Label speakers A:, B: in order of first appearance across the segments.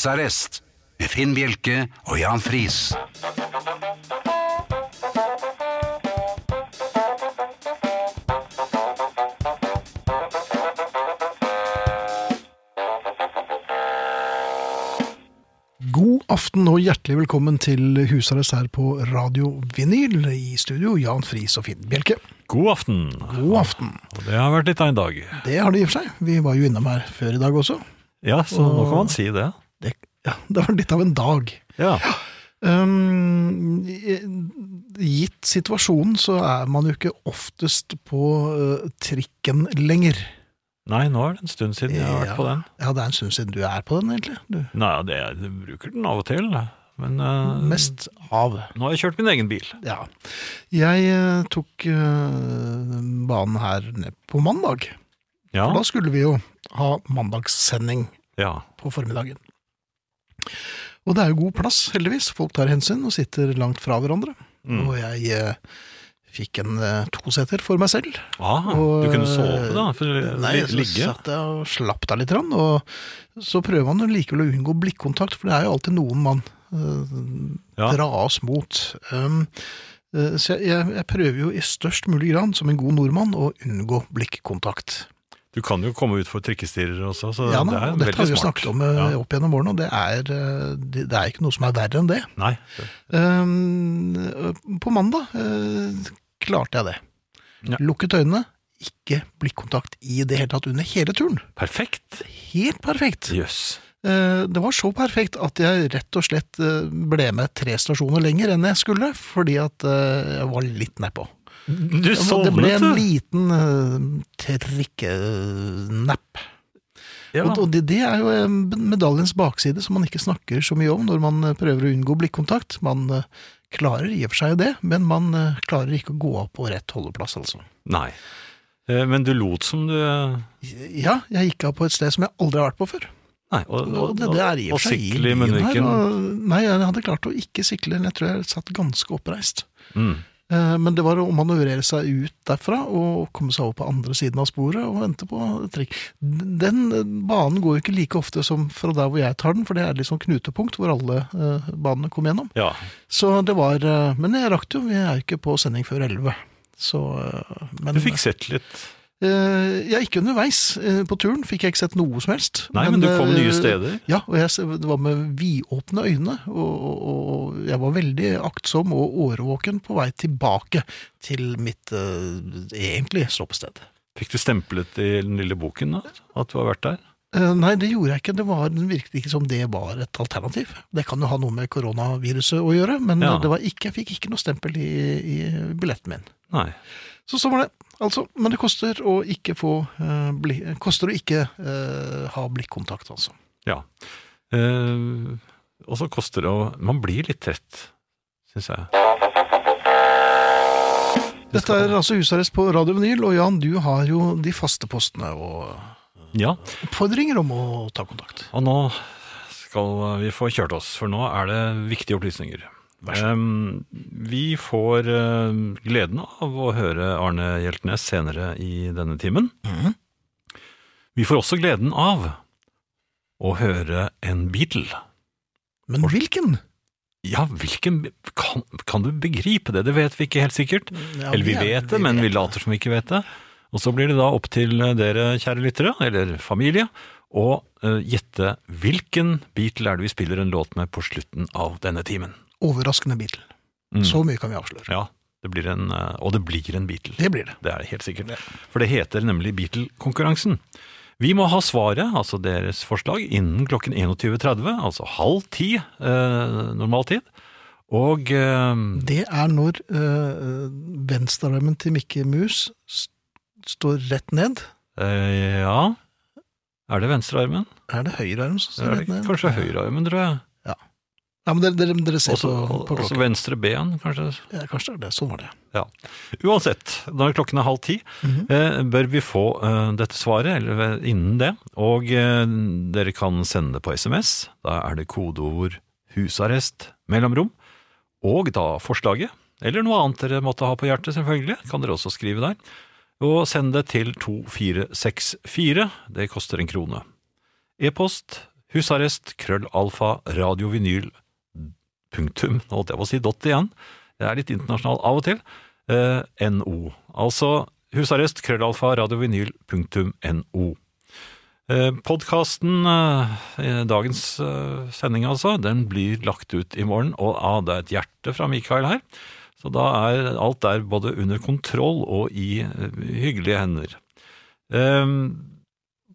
A: Husarrest med Finn Bjelke og Jan Friis.
B: God aften og hjertelig velkommen til Husarrest her på Radio Vinyl. I studio Jan Friis og Finn Bjelke.
C: God aften.
B: God aften.
C: Og Det har vært litt av en dag.
B: Det har det i og for seg. Vi var jo innom her før i dag også.
C: Ja, så nå kan man si det.
B: Det, ja, det var litt av en dag.
C: Ja,
B: Ehm, gitt situasjonen så er man jo ikke oftest på eh, trikken lenger.
C: Nei, nå er det en stund siden jeg har vært på den.
B: Ja, det er en stund siden du er på den, egentlig. Du,
C: Nei, det, jeg bruker den av og til, men eh,
B: mest av.
C: nå har jeg kjørt min egen bil.
B: Ja. Jeg eh, tok eh, banen her ned på mandag.
C: Ja,
B: For da skulle vi jo ha mandagssending
C: ja,
B: på formiddagen. Og det er jo god plass, heldigvis. Folk tar hensyn og sitter langt fra hverandre.
C: Mm.
B: Og jeg eh, fikk en eh, toseter for meg selv.
C: ah,
B: Og,
C: du kunne sove da, for å
B: Nei,
C: Eh, li-
B: så
C: ligge.
B: satt jeg og slapp deg litt, grann, og så prøver man jo likevel å unngå blikkontakt, for det er jo alltid noen man eh,
C: Ja.
B: dras mot. Um, eh, så jeg, jeg, jeg prøver jo i størst mulig grad, som en god nordmann, å unngå blikkontakt.
C: Du kan jo komme ut for trikkestirrere også, så
B: Ja,
C: det
B: da,
C: er
B: og Dette har vi
C: veldig
B: jo
C: smart.
B: snakket om eh,
C: Ja.
B: opp gjennom årene, og det er, eh, det, det er ikke noe som er verre enn det.
C: Nei,
B: Um, på mandag eh, klarte jeg det.
C: Ja.
B: Lukket øynene, ikke blikkontakt i det hele tatt under hele turen.
C: perfekt.
B: Helt perfekt.
C: Jøss.
B: Eh, Det var så perfekt at jeg rett og slett eh, ble med tre stasjoner lenger enn jeg skulle, fordi at eh, jeg var litt nedpå.
C: Du
B: Ja, men Det ble
C: sovnet,
B: en liten
C: du.
B: eh, trikkenapp.
C: Ja.
B: Og, og det, det er jo eh, medaljens bakside som man ikke snakker så mye om når man eh, prøver å unngå blikkontakt. Man eh, klarer i og for seg det, men man eh, klarer ikke å gå av på rett holdeplass, altså.
C: Nei. Eh, Men du lot som du Nei,
B: Ja, jeg gikk av på et sted som jeg aldri har vært på før.
C: og,
B: Og det, det er i og for seg i
C: sikle i
B: byen her,
C: munnviken.
B: og- Nei, jeg hadde klart å ikke sikle, men jeg tror jeg satt ganske oppreist.
C: Mm.
B: Eh, Men det var å manøvrere seg ut derfra og komme seg over på andre siden av sporet og vente på trikk. Den eh, banen går jo ikke like ofte som fra der hvor jeg tar den, for det er liksom knutepunkt hvor alle eh, banene kom gjennom.
C: Ja.
B: Så det var eh, Men jeg rakk det jo, vi er jo ikke på sending før 11. Så eh, men,
C: Du fikk sett litt.
B: Eh, Jeg gikk underveis eh, på turen, fikk jeg ikke sett noe som helst.
C: Nei, men, du kom
B: eh,
C: nye steder.
B: Ja, og jeg, det var med vidåpne øyne, og, og, og jeg var veldig aktsom og årvåken på vei tilbake til mitt eh, egentlige stoppsted.
C: Fikk du stemplet i den lille boken da, at du har vært der?
B: Eh, nei, det gjorde jeg ikke. Det var, det virket ikke som det var et alternativ. Det kan jo ha noe med koronaviruset å gjøre, men
C: Ja.
B: eh, det var ikke, jeg fikk ikke noe stempel i, i billetten min.
C: Nei.
B: Så sånn var det. Altså, men det koster å ikke få eh, bli, koster å ikke eh, ha blikkontakt, altså.
C: Ja. Eh, og så koster det å Man blir litt trett, syns jeg. Det
B: Dette
C: skal-
B: er altså husarrest på Radio Vinyl, og Jan, du har jo de faste postene og
C: Ja.
B: oppfordringer om å ta kontakt.
C: Og nå skal vi få kjørt oss, for nå er det viktige opplysninger.
B: Vær så
C: Em, vi får eh, gleden av å høre Arne Hjeltnes senere i denne timen.
B: Mhm.
C: Vi får også gleden av å høre en Beatle.
B: Men hvilken?
C: Ja, hvilken kan, kan du begripe det? Det vet vi ikke helt sikkert.
B: Ja,
C: Eller vi
B: er-
C: vet det, men vi
B: vet.
C: later som vi ikke vet det. Og så blir det da opp til eh, dere, kjære lyttere, eller familie, å eh, gjette hvilken Beatle er det vi spiller en låt med på slutten av denne timen.
B: Overraskende Beatle.
C: Mm.
B: Så mye kan vi avsløre.
C: Ja, det blir en, eh, og det blir en Beatle.
B: Det blir det.
C: Det er helt sikkert. For det heter nemlig Beatle-konkurransen. Vi må ha svaret, altså deres forslag, innen klokken 21.30, altså halv ti eh, normal tid. Og eh,
B: Det er når øh, venstrearmen til Mikke Mus st står rett ned.
C: eh, ja Er det venstrearmen?
B: Er det høyrearmen som står
C: Er
B: rett
C: det
B: ned?
C: kanskje høyrearmen, tror jeg.
B: Ja, men dere, dere, dere ser
C: Også,
B: på, på
C: også
B: klokken.
C: venstre ben, kanskje.
B: Ja, kanskje det er det. Sånn var det.
C: Uansett, når klokken er halv ti,
B: Mhm.
C: eh, bør vi få eh, dette svaret, eller eh, innen det. Og eh, dere kan sende det på SMS. Da er det kodeord 'husarrest' mellomrom. Og da forslaget, eller noe annet dere måtte ha på hjertet, selvfølgelig, kan dere også skrive der. Og send det til 2464. Det koster en krone. E-post husarrest, krøllalfa, radiovinyl, punktum, nå holdt jeg på å si dot igjen, det er litt internasjonal av og til, eh, no. Altså husarrest, krøllalfa, radiovinyl, punktum, no. Eh, Podkasten, eh, dagens eh, sending altså, den blir lagt ut i morgen, og ah, det er et hjerte fra Mikael her. Så da er alt der både under kontroll og i eh, hyggelige hender.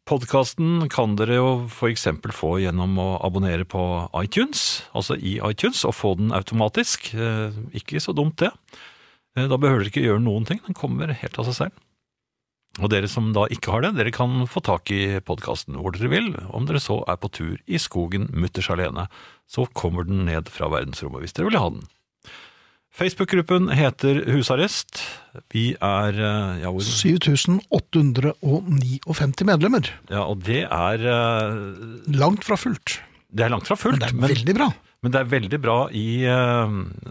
C: Podkasten Ehm, kan dere jo for eksempel få gjennom å abonnere på iTunes, altså i iTunes, og få den automatisk. Eh, Ikke så dumt det. Eh, Da behøver dere ikke gjøre noen ting, den kommer helt av seg selv. Og dere som da ikke har det, dere kan få tak i podkasten hvor dere vil, om dere så er på tur i skogen mutters alene. Så kommer den ned fra verdensrommet hvis dere vil ha den. Facebook-gruppen heter Husarrest. Vi er eh, ja, hvor,
B: 7859 medlemmer.
C: ja, og det er eh,
B: Langt fra fullt.
C: Det er langt fra fullt,
B: Men det er
C: men, men,
B: veldig bra.
C: det er veldig bra i eh,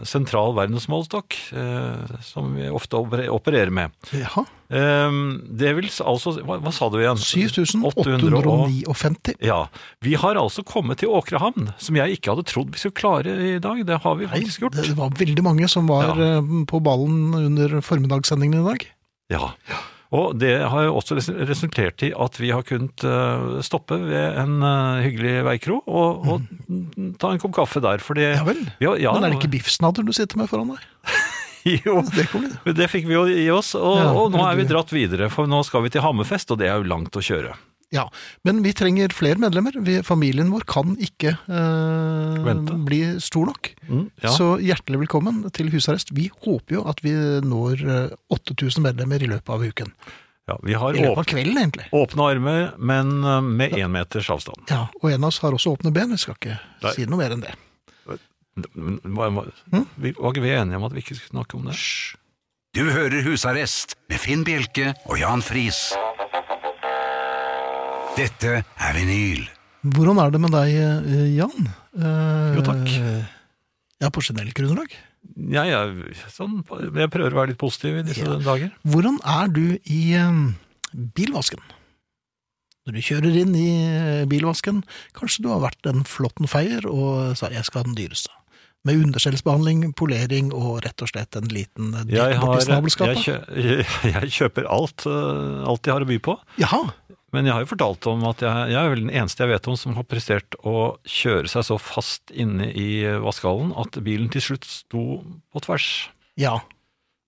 C: sentral verdensmålestokk, eh, som vi ofte oper- opererer med.
B: Jaha.
C: Eh, det vil s- altså hva, hva sa du igjen? 800 og-
B: 7859.
C: Ja. Vi har altså kommet til Åkrehamn, som jeg ikke hadde trodd vi skulle klare i dag. Det har vi
B: Nei,
C: faktisk gjort.
B: det var veldig mange som var
C: Ja.
B: eh, på ballen under formiddagssendingen i dag.
C: Ja. Og det har jo også res- resultert i at vi har kunnet eh, stoppe ved en eh, hyggelig veikro og, og ta en kopp kaffe der. Fordi,
B: Mm. Ja vel.
C: Ja, ja,
B: Men er det ikke biffsnadder du sitter med foran deg?
C: Jo,
B: Det kommer det.
C: det fikk vi jo i oss, og,
B: Ja,
C: og nå
B: det
C: er vi
B: blir-
C: dratt videre, for nå skal vi til Hammerfest, og det er jo langt å kjøre.
B: Ja, men vi trenger flere medlemmer. Vi, familien vår kan ikke eh,
C: Vente.
B: bli stor nok.
C: Mm, ja.
B: Så hjertelig velkommen til husarrest. Vi håper jo at vi når eh, 8000 medlemmer i løpet av uken.
C: ja, vi har
B: I løpet
C: åp
B: av kvelden, egentlig.
C: åpne armer, men eh, med én meters avstand.
B: Ja, Og en av oss har også åpne ben. Vi skal ikke
C: Nei.
B: si noe mer enn det.
C: Men hva- hva-
B: Hm?
C: Vi var ikke vi enige om at vi ikke skulle snakke om det?
A: Du hører Husarrest med Finn Bjelke og Jan Friis. Dette er vinyl.
B: Hvordan er det med deg, eh, Jan? Eh,
C: Jo, takk.
B: Ja, på generelt grunnlag.
C: Jeg, er sånn, jeg prøver å være litt positiv i disse
B: Ja.
C: dager.
B: Hvordan er du i eh, bilvasken? Når du kjører inn i eh, bilvasken, kanskje du har vært en flåttenfeier og sa 'jeg skal ha den dyreste'. Med underskjellsbehandling, polering og rett og slett en liten eh,
C: Jeg,
B: dytt
C: har,
B: borti
C: jeg,
B: snabelskapet.
C: kjø- jeg, jeg kjøper alt, eh, alt jeg har å by på.
B: Jaha,
C: Men jeg har jo fortalt om at jeg, jeg er vel den eneste jeg vet om som har prestert å kjøre seg så fast inne i vaskehallen at bilen til slutt sto på tvers.
B: ja.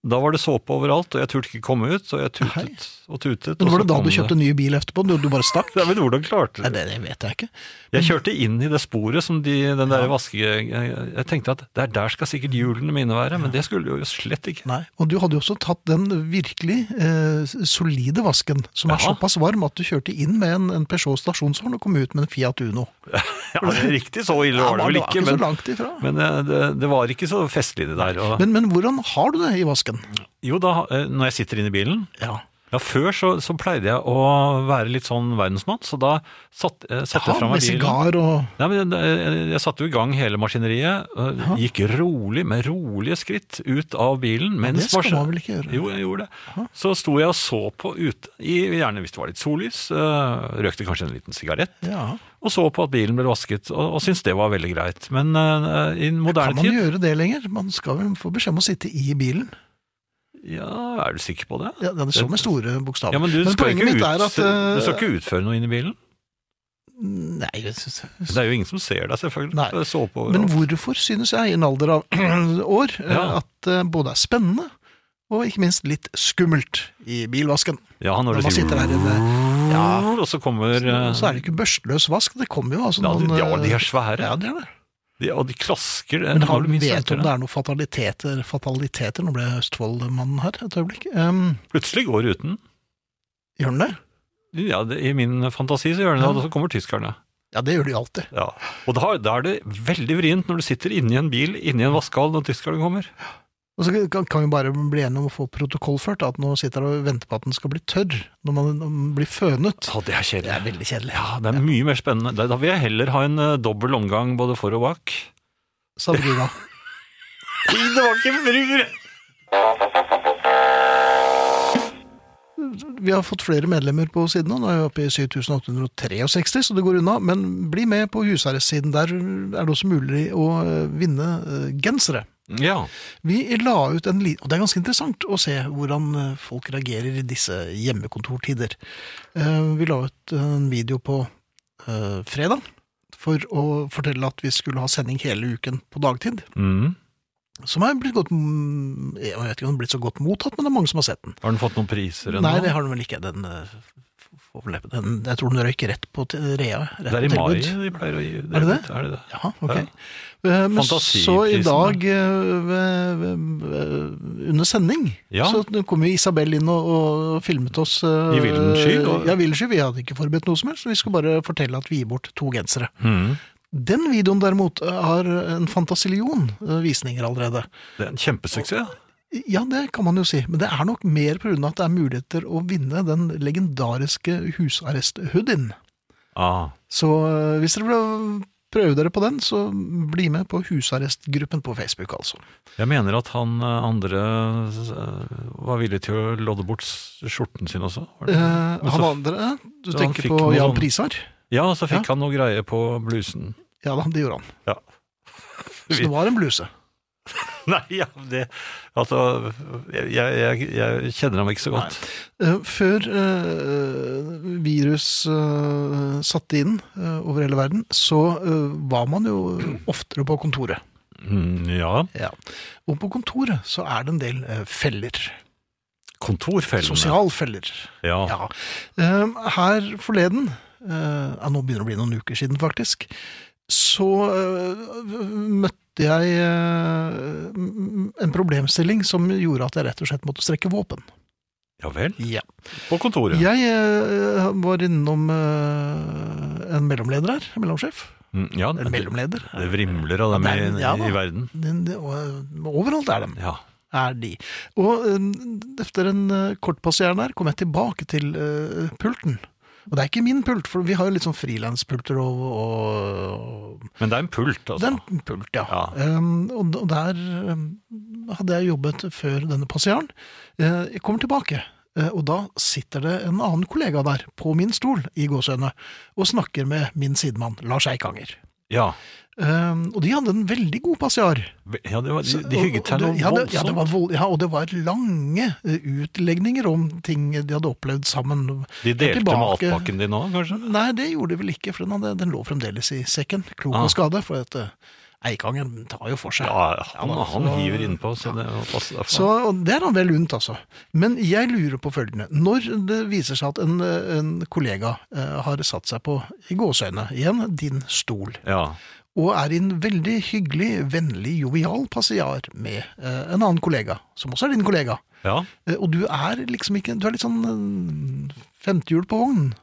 C: Da var det såpe overalt, og jeg turte ikke komme ut, så jeg tutet
B: Hei.
C: og tutet.
B: Men
C: og
B: var det
C: så
B: da
C: kom
B: du kjøpte ny bil etterpå? Du, du bare stakk?
C: Ja, men hvordan klarte
B: Nei,
C: du det?
B: det, det vet jeg ikke.
C: Jeg kjørte inn i det sporet som de, den der
B: Ja.
C: vaske... Jeg, jeg tenkte at der, der skal sikkert hjulene mine være, men det skulle jo slett ikke.
B: Nei, Og du hadde jo også tatt den virkelig eh, solide vasken, som er
C: Ja.
B: såpass varm at du kjørte inn med en, en Peugeot stasjonshorn og kom ut med en Fiat Uno.
C: Ja, det er Riktig så ille var det vel
B: Ja,
C: ikke,
B: men det var ikke så
C: men,
B: langt ifra.
C: men eh, det, det var ikke så festlig det der. Og,
B: Men, men hvordan har du det i vasken?
C: jo, da, eh, når jeg sitter inne i bilen,
B: Ja.
C: Ja, Før så, så pleide jeg å være litt sånn verdensmann, så da satt, eh, satte jeg fra meg
B: med
C: bilen.
B: sigar og
C: Nei, men jeg, jeg- jeg satte jo i gang hele maskineriet, og gikk rolig, med rolige skritt ut av bilen.
B: Det
C: Mens
B: skal
C: vars-
B: man vel ikke gjøre?
C: Jo, jeg gjorde det. Så sto jeg og så på ute, i, gjerne hvis det var litt sollys, eh, røkte kanskje en liten sigarett,
B: Ja.
C: og så på at bilen ble vasket, og, og syntes det var veldig greit. Men eh, i den
B: Kan
C: moderne
B: man
C: tid
B: gjøre det lenger? Man skal vel få beskjed om å sitte i bilen.
C: Ja, er du sikker på det?
B: Ja, det står med store bokstaver.
C: Ja, men du skal,
B: poenget
C: ikke,
B: mitt
C: ut,
B: er at eh,
C: du skal ikke utføre noe inne i bilen?
B: Nei, jeg synes-
C: Det er jo ingen som ser deg, selvfølgelig.
B: Nei.
C: Det er såpe overalt.
B: Men hvorfor synes jeg, i en alder av år, eh,
C: Ja.
B: at det både er spennende og ikke minst litt skummelt i bilvasken?
C: Ja, når
B: Når
C: du
B: man
C: sier
B: sitter der inne. Ja,
C: Og så kommer eh,
B: så er det ikke børsteløs vask. Det kommer jo altså
C: ja, de,
B: noen
C: ja, de
B: eh,
C: er svære.
B: ja, det er det.
C: De, og de klasker. eh,
B: Men
C: når
B: har,
C: du minst
B: vet du
C: venter
B: om det er noen fataliteter? fataliteter? Nå ble jeg Østfold-mannen her et øyeblikk. Ehm,
C: Plutselig går ruten.
B: gjør den det?
C: Ja, det, I min fantasi så gjør den det, og så kommer tyskerne.
B: Ja, det gjør de jo alltid.
C: Ja. Og da, da er det veldig vrient når du sitter inni en bil, inni en vaskehall, når tyskerne kommer.
B: Og så kan, kan vi bare bli enige om å få protokollført at nå sitter jeg og venter på at den skal bli tørr når man når den blir fønet.
C: Ja, det er
B: Det
C: kjedelig.
B: er veldig kjedelig.
C: Ja, det er mye mer spennende. Da- Da vil jeg heller ha en eh, dobbel omgang både for og bak.
B: Sabrina.
C: Det var ikke
B: Vi har fått flere medlemmer på siden nå. Nå er vi oppe i 7863, så det går unna. Men bli med på husarrestsiden. Der er det også mulig å eh, vinne eh, gensere.
C: Ja.
B: Vi la ut en liten Og det er ganske interessant å se hvordan eh, folk reagerer i disse hjemmekontortider. Eh, Vi la ut en video på eh, fredag for å fortelle at vi skulle ha sending hele uken på dagtid.
C: Mm.
B: Som er blitt godt mm, Jeg vet ikke om den er blitt så godt mottatt, men det er mange som har sett den.
C: Har den fått noen priser ennå?
B: Nei, det har den vel ikke. Den, eh, f- får vel neppe- den, jeg tror den røyk rett på til- Rea. Rett
C: Det er i
B: på
C: mai
B: tilbud.
C: de pleier å gi
B: Er det
C: ut, Er det det?
B: Ja, ok.
C: Ja.
B: Eh, Men
C: Fantasiprisen,
B: så i
C: da.
B: dag, eh, ved, ved, ved, under sending,
C: Ja.
B: så kom jo Isabel inn og, og filmet oss. eh,
C: I villen sky, og-
B: Ja, i villen sky. Vi hadde ikke forberedt noe som helst, så vi skulle bare fortelle at vi gir bort to gensere.
C: Mm.
B: Den videoen derimot eh, har en fantasillion eh, visninger allerede.
C: Det er en kjempesuksess.
B: Ja, det kan man jo si, men det er nok mer pga. at det er muligheter å vinne den legendariske husarrest-hoodien.
C: Ah.
B: Så eh, hvis dere vil prøve dere på den, så bli med på husarrestgruppen på Facebook, altså.
C: Jeg mener at han eh, andre eh, var villig til å lodde bort s- skjorten sin også. var det
B: Eh,
C: ikke det? Men
B: han
C: så-
B: andre, du
C: så han
B: tenker
C: fikk
B: på
C: noe
B: Jan
C: sånn-
B: Prisar?
C: Ja, så fikk han noe greie på blusen.
B: Ja da, det gjorde han.
C: Ja.
B: Så det var en bluse.
C: Nei, ja, det Altså, jeg, jeg, jeg kjenner ham ikke så godt.
B: Eh, Før eh, virus eh, satte inn eh, over hele verden, så eh, var man jo oftere på kontoret.
C: Mm, ja,
B: Ja. Og på kontoret så er det en del eh, feller.
C: kontorfellene.
B: Sosialfeller.
C: Ja.
B: Ja. Eh, her forleden, eh, ja, nå begynner det å bli noen uker siden faktisk, så eh, møtte jeg eh, m- en problemstilling som gjorde at jeg rett og slett måtte strekke våpen.
C: ja vel.
B: Ja.
C: På kontoret.
B: Jeg eh, var innom eh, en mellomleder her, en mellomsjef.
C: Mm, ja,
B: En
C: det,
B: mellomleder.
C: det vrimler av
B: Ja,
C: dem
B: det er-
C: i,
B: ja da.
C: i verden.
B: Den- den- og- eh, Overalt er de.
C: Ja.
B: er de. Og eh, etter en eh, kort passering der kom jeg tilbake til eh, pulten. Og det er ikke min pult, for vi har jo litt sånn frilanspulter og, og
C: Men det er en pult, altså.
B: Den pult, ja.
C: Ja.
B: Em, og, og der em, hadde jeg jobbet før denne passiaren. Eh, jeg kommer tilbake, eh, og da sitter det en annen kollega der, på min stol i gåsøene, og snakker med min sidemann, Lars Eikanger.
C: Ja.
B: Em, og de hadde en veldig god passiar.
C: ja det var, de,
B: Så-
C: de hygget seg
B: og-
C: noe
B: og det- ja, det-
C: voldsomt.
B: Ja, det var vold, ja, og det var lange eh, utlegninger om ting de hadde opplevd sammen.
C: De delte
B: Tilbake-
C: matpakken din òg, kanskje?
B: Nei, det gjorde de vel ikke, for den, hadde, den lå fremdeles i sekken. Klok
C: Ah.
B: og skade, for at eh, Eikangen tar jo for seg.
C: Ja, han,
B: Ja, da,
C: han
B: så-
C: hiver innpå, så det var pass-
B: Så og det er han vel unt, altså. Men jeg lurer på følgende. Når det viser seg at en, eh, en kollega eh, har satt seg på, i gåseøyne igjen, din stol,
C: Ja.
B: og er i en veldig hyggelig, vennlig, jovial passiar med eh, en annen kollega, som også er din kollega.
C: ja.
B: Eh, og du er liksom ikke Du er litt sånn eh, femtehjul på vognen.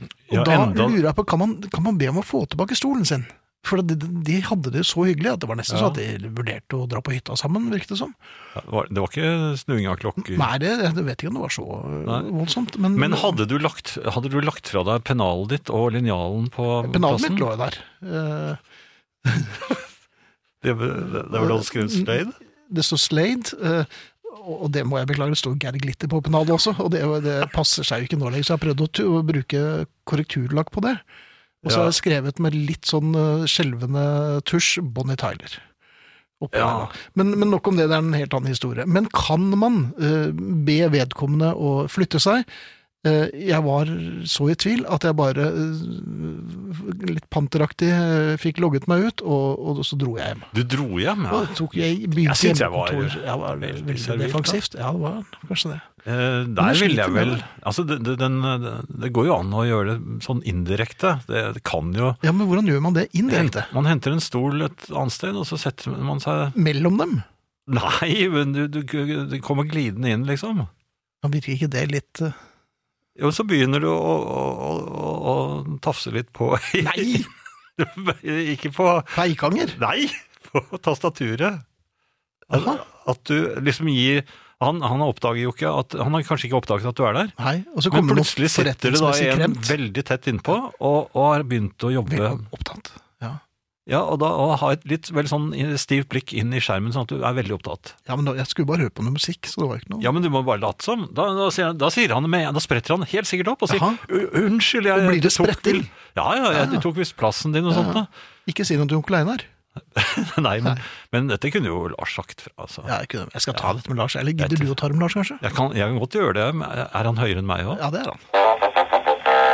B: Og
C: Ja,
B: da
C: enda-
B: lurer jeg på kan man, kan man be om å få tilbake stolen sin? For de, de hadde det så hyggelig at det var nesten
C: Ja.
B: så at de vurderte å dra på hytta sammen, virket det som.
C: Det var, det var ikke snuing av klokker.
B: Nei, det, jeg vet ikke om det var så eh,
C: Nei.
B: voldsomt. Men,
C: Men hadde du, lagt, hadde du lagt fra deg pennalet ditt og linjalen på
B: pennalet
C: plassen?
B: mitt lå jo der. Eh,
C: Det, det, det var da du skrev sløyd?
B: Det står Slade, eh, og og det må jeg beklage, det står Gerd Glitter på pennalet også, og det, det passer seg jo ikke nå lenger, så jeg har prøvd å, tu- å bruke korrekturlakk på det. Og så
C: Ja.
B: har jeg skrevet med litt sånn eh, skjelvende tusj Bonnie Tyler. Oppi
C: Ja.
B: der, da. Men, men nok om det, det er en helt annen historie. Men kan man eh, be vedkommende å flytte seg? Eh, jeg var så i tvil at jeg bare eh, litt panteraktig eh, fikk logget meg ut, og, og så dro jeg hjem.
C: Du dro hjem, ja.
B: Og tok jeg begynte
C: Jeg synes jeg var
B: hjemmekontor. Jeg var
C: veldig
B: veldig
C: servilt,
B: defensivt. Ja, det var kanskje det.
C: Eh,
B: jeg
C: der ville
B: sliter
C: jeg
B: med
C: vel
B: det.
C: Altså, det, det, den, det går jo an å gjøre det sånn indirekte. Det, det kan jo
B: Ja, Men hvordan gjør man det indirekte?
C: Man henter en stol et annet sted, og så setter man seg
B: Mellom dem?
C: Nei, men du, du, du kommer glidende inn, liksom.
B: Ja, Virker ikke det litt eh,
C: Jo, så begynner du å, å, å, å, å tafse litt på
B: Nei!
C: Ikke på
B: Feikanger?
C: Nei, på tastaturet. At,
B: Jaha.
C: at du liksom gir han, han oppdager jo ikke at Han har kanskje ikke oppdaget at du er der,
B: Nei. Og så
C: men
B: kommer det
C: plutselig
B: noe
C: sitter det da
B: forretningsmessig
C: en
B: kremt.
C: veldig tett innpå og, og har begynt å jobbe
B: Veldig opptatt. Ja.
C: Ja, og da og ha et litt vel sånn stivt blikk inn i skjermen, sånn at du er veldig opptatt.
B: Ja, men da, Jeg skulle bare høre på noe musikk, så det var ikke noe.
C: Ja, men du må bare late som. Da, da, sier, han- da, sier han med, da spretter han helt sikkert opp og sier
B: Jaha.
C: "U- 'unnskyld, jeg
B: Og blir det
C: tok
B: spretting?
C: vel- Ja, ja, jeg
B: Ja.
C: tok visst plassen din og
B: Ja.
C: sånt. da.
B: Ikke si noe til onkel Einar.
C: Nei, men, men dette kunne jo Lars sagt fra. Altså.
B: Ja, jeg, kunne, jeg skal ta dette med Lars. Eller gidder du å ta det med Lars, kanskje?
C: Jeg, kan, jeg kan godt gjøre det. men Er han høyere enn meg òg?
B: Ja, det er han.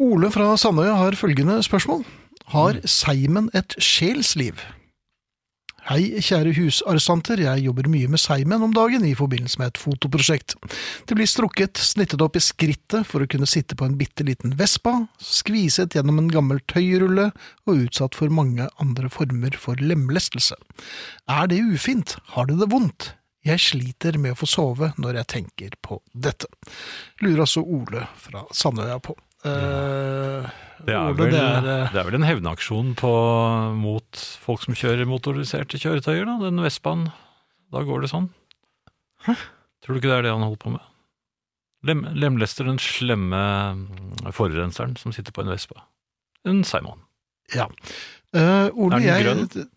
B: Ole fra Sandøya har følgende spørsmål. Har seimen et sjelsliv? Hei, kjære husarrestanter. Jeg jobber mye med seimen om dagen i forbindelse med et fotoprosjekt. Det blir strukket, snittet opp i skrittet for å kunne sitte på en bitte liten Vespa, skviset gjennom en gammel tøyrulle og utsatt for mange andre former for lemlestelse. Er det ufint? Har du det vondt? Jeg sliter med å få sove når jeg tenker på dette. Lurer altså Ole fra Sandøya på. Eh,
C: Det er,
B: Ole,
C: vel,
B: det er, eh,
C: det er vel en hevnaksjon på, mot folk som kjører motoriserte kjøretøyer, da, den Vespaen. Da går det sånn. Tror du ikke det er det han holder på med? Lem, lemlester den slemme mm, forurenseren som sitter på en Vespa. En seigmann.
B: Eh, Ole,
C: Er den
B: jeg
C: grønn?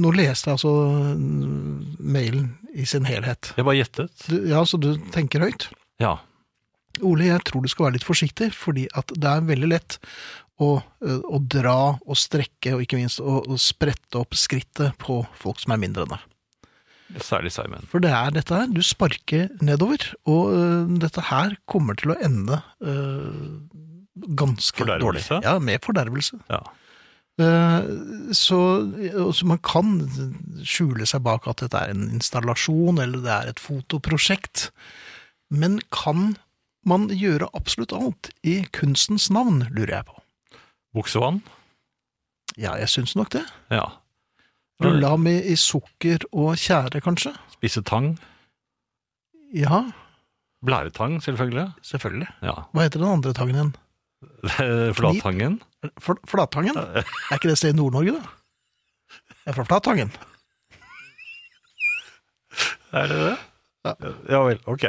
B: Nå leste jeg altså mm, mailen i sin helhet.
C: Jeg bare gjettet.
B: Du, ja, så du tenker høyt?
C: Ja.
B: Ole, jeg tror du skal være litt forsiktig, fordi at det er veldig lett å, ø, å dra og strekke, og ikke minst å, å sprette opp skrittet på folk som er mindre enn deg.
C: Særlig seigmenn.
B: For det er dette her, du sparker nedover, og ø, dette her kommer til å ende ø, ganske
C: Fordervelse?
B: dårlig. Ja, med fordervelse.
C: Ja.
B: Eh, Så, og så man kan skjule seg bak at dette er en installasjon eller det er et fotoprosjekt, men kan man gjøre absolutt alt i kunstens navn, lurer jeg på.
C: Buksevann.
B: Ja, jeg syns nok det.
C: Ja.
B: Rulla med i sukker og tjære, kanskje?
C: Spise tang.
B: Ja,
C: Blæretang, selvfølgelig.
B: selvfølgelig.
C: Ja.
B: Hva heter den andre tangen igjen?
C: Flattangen.
B: Fl flattangen? Er ikke det et sted i Nord-Norge, da? Jeg er fra Flattangen.
C: Er det det?
B: Ja.
C: ja vel, ok.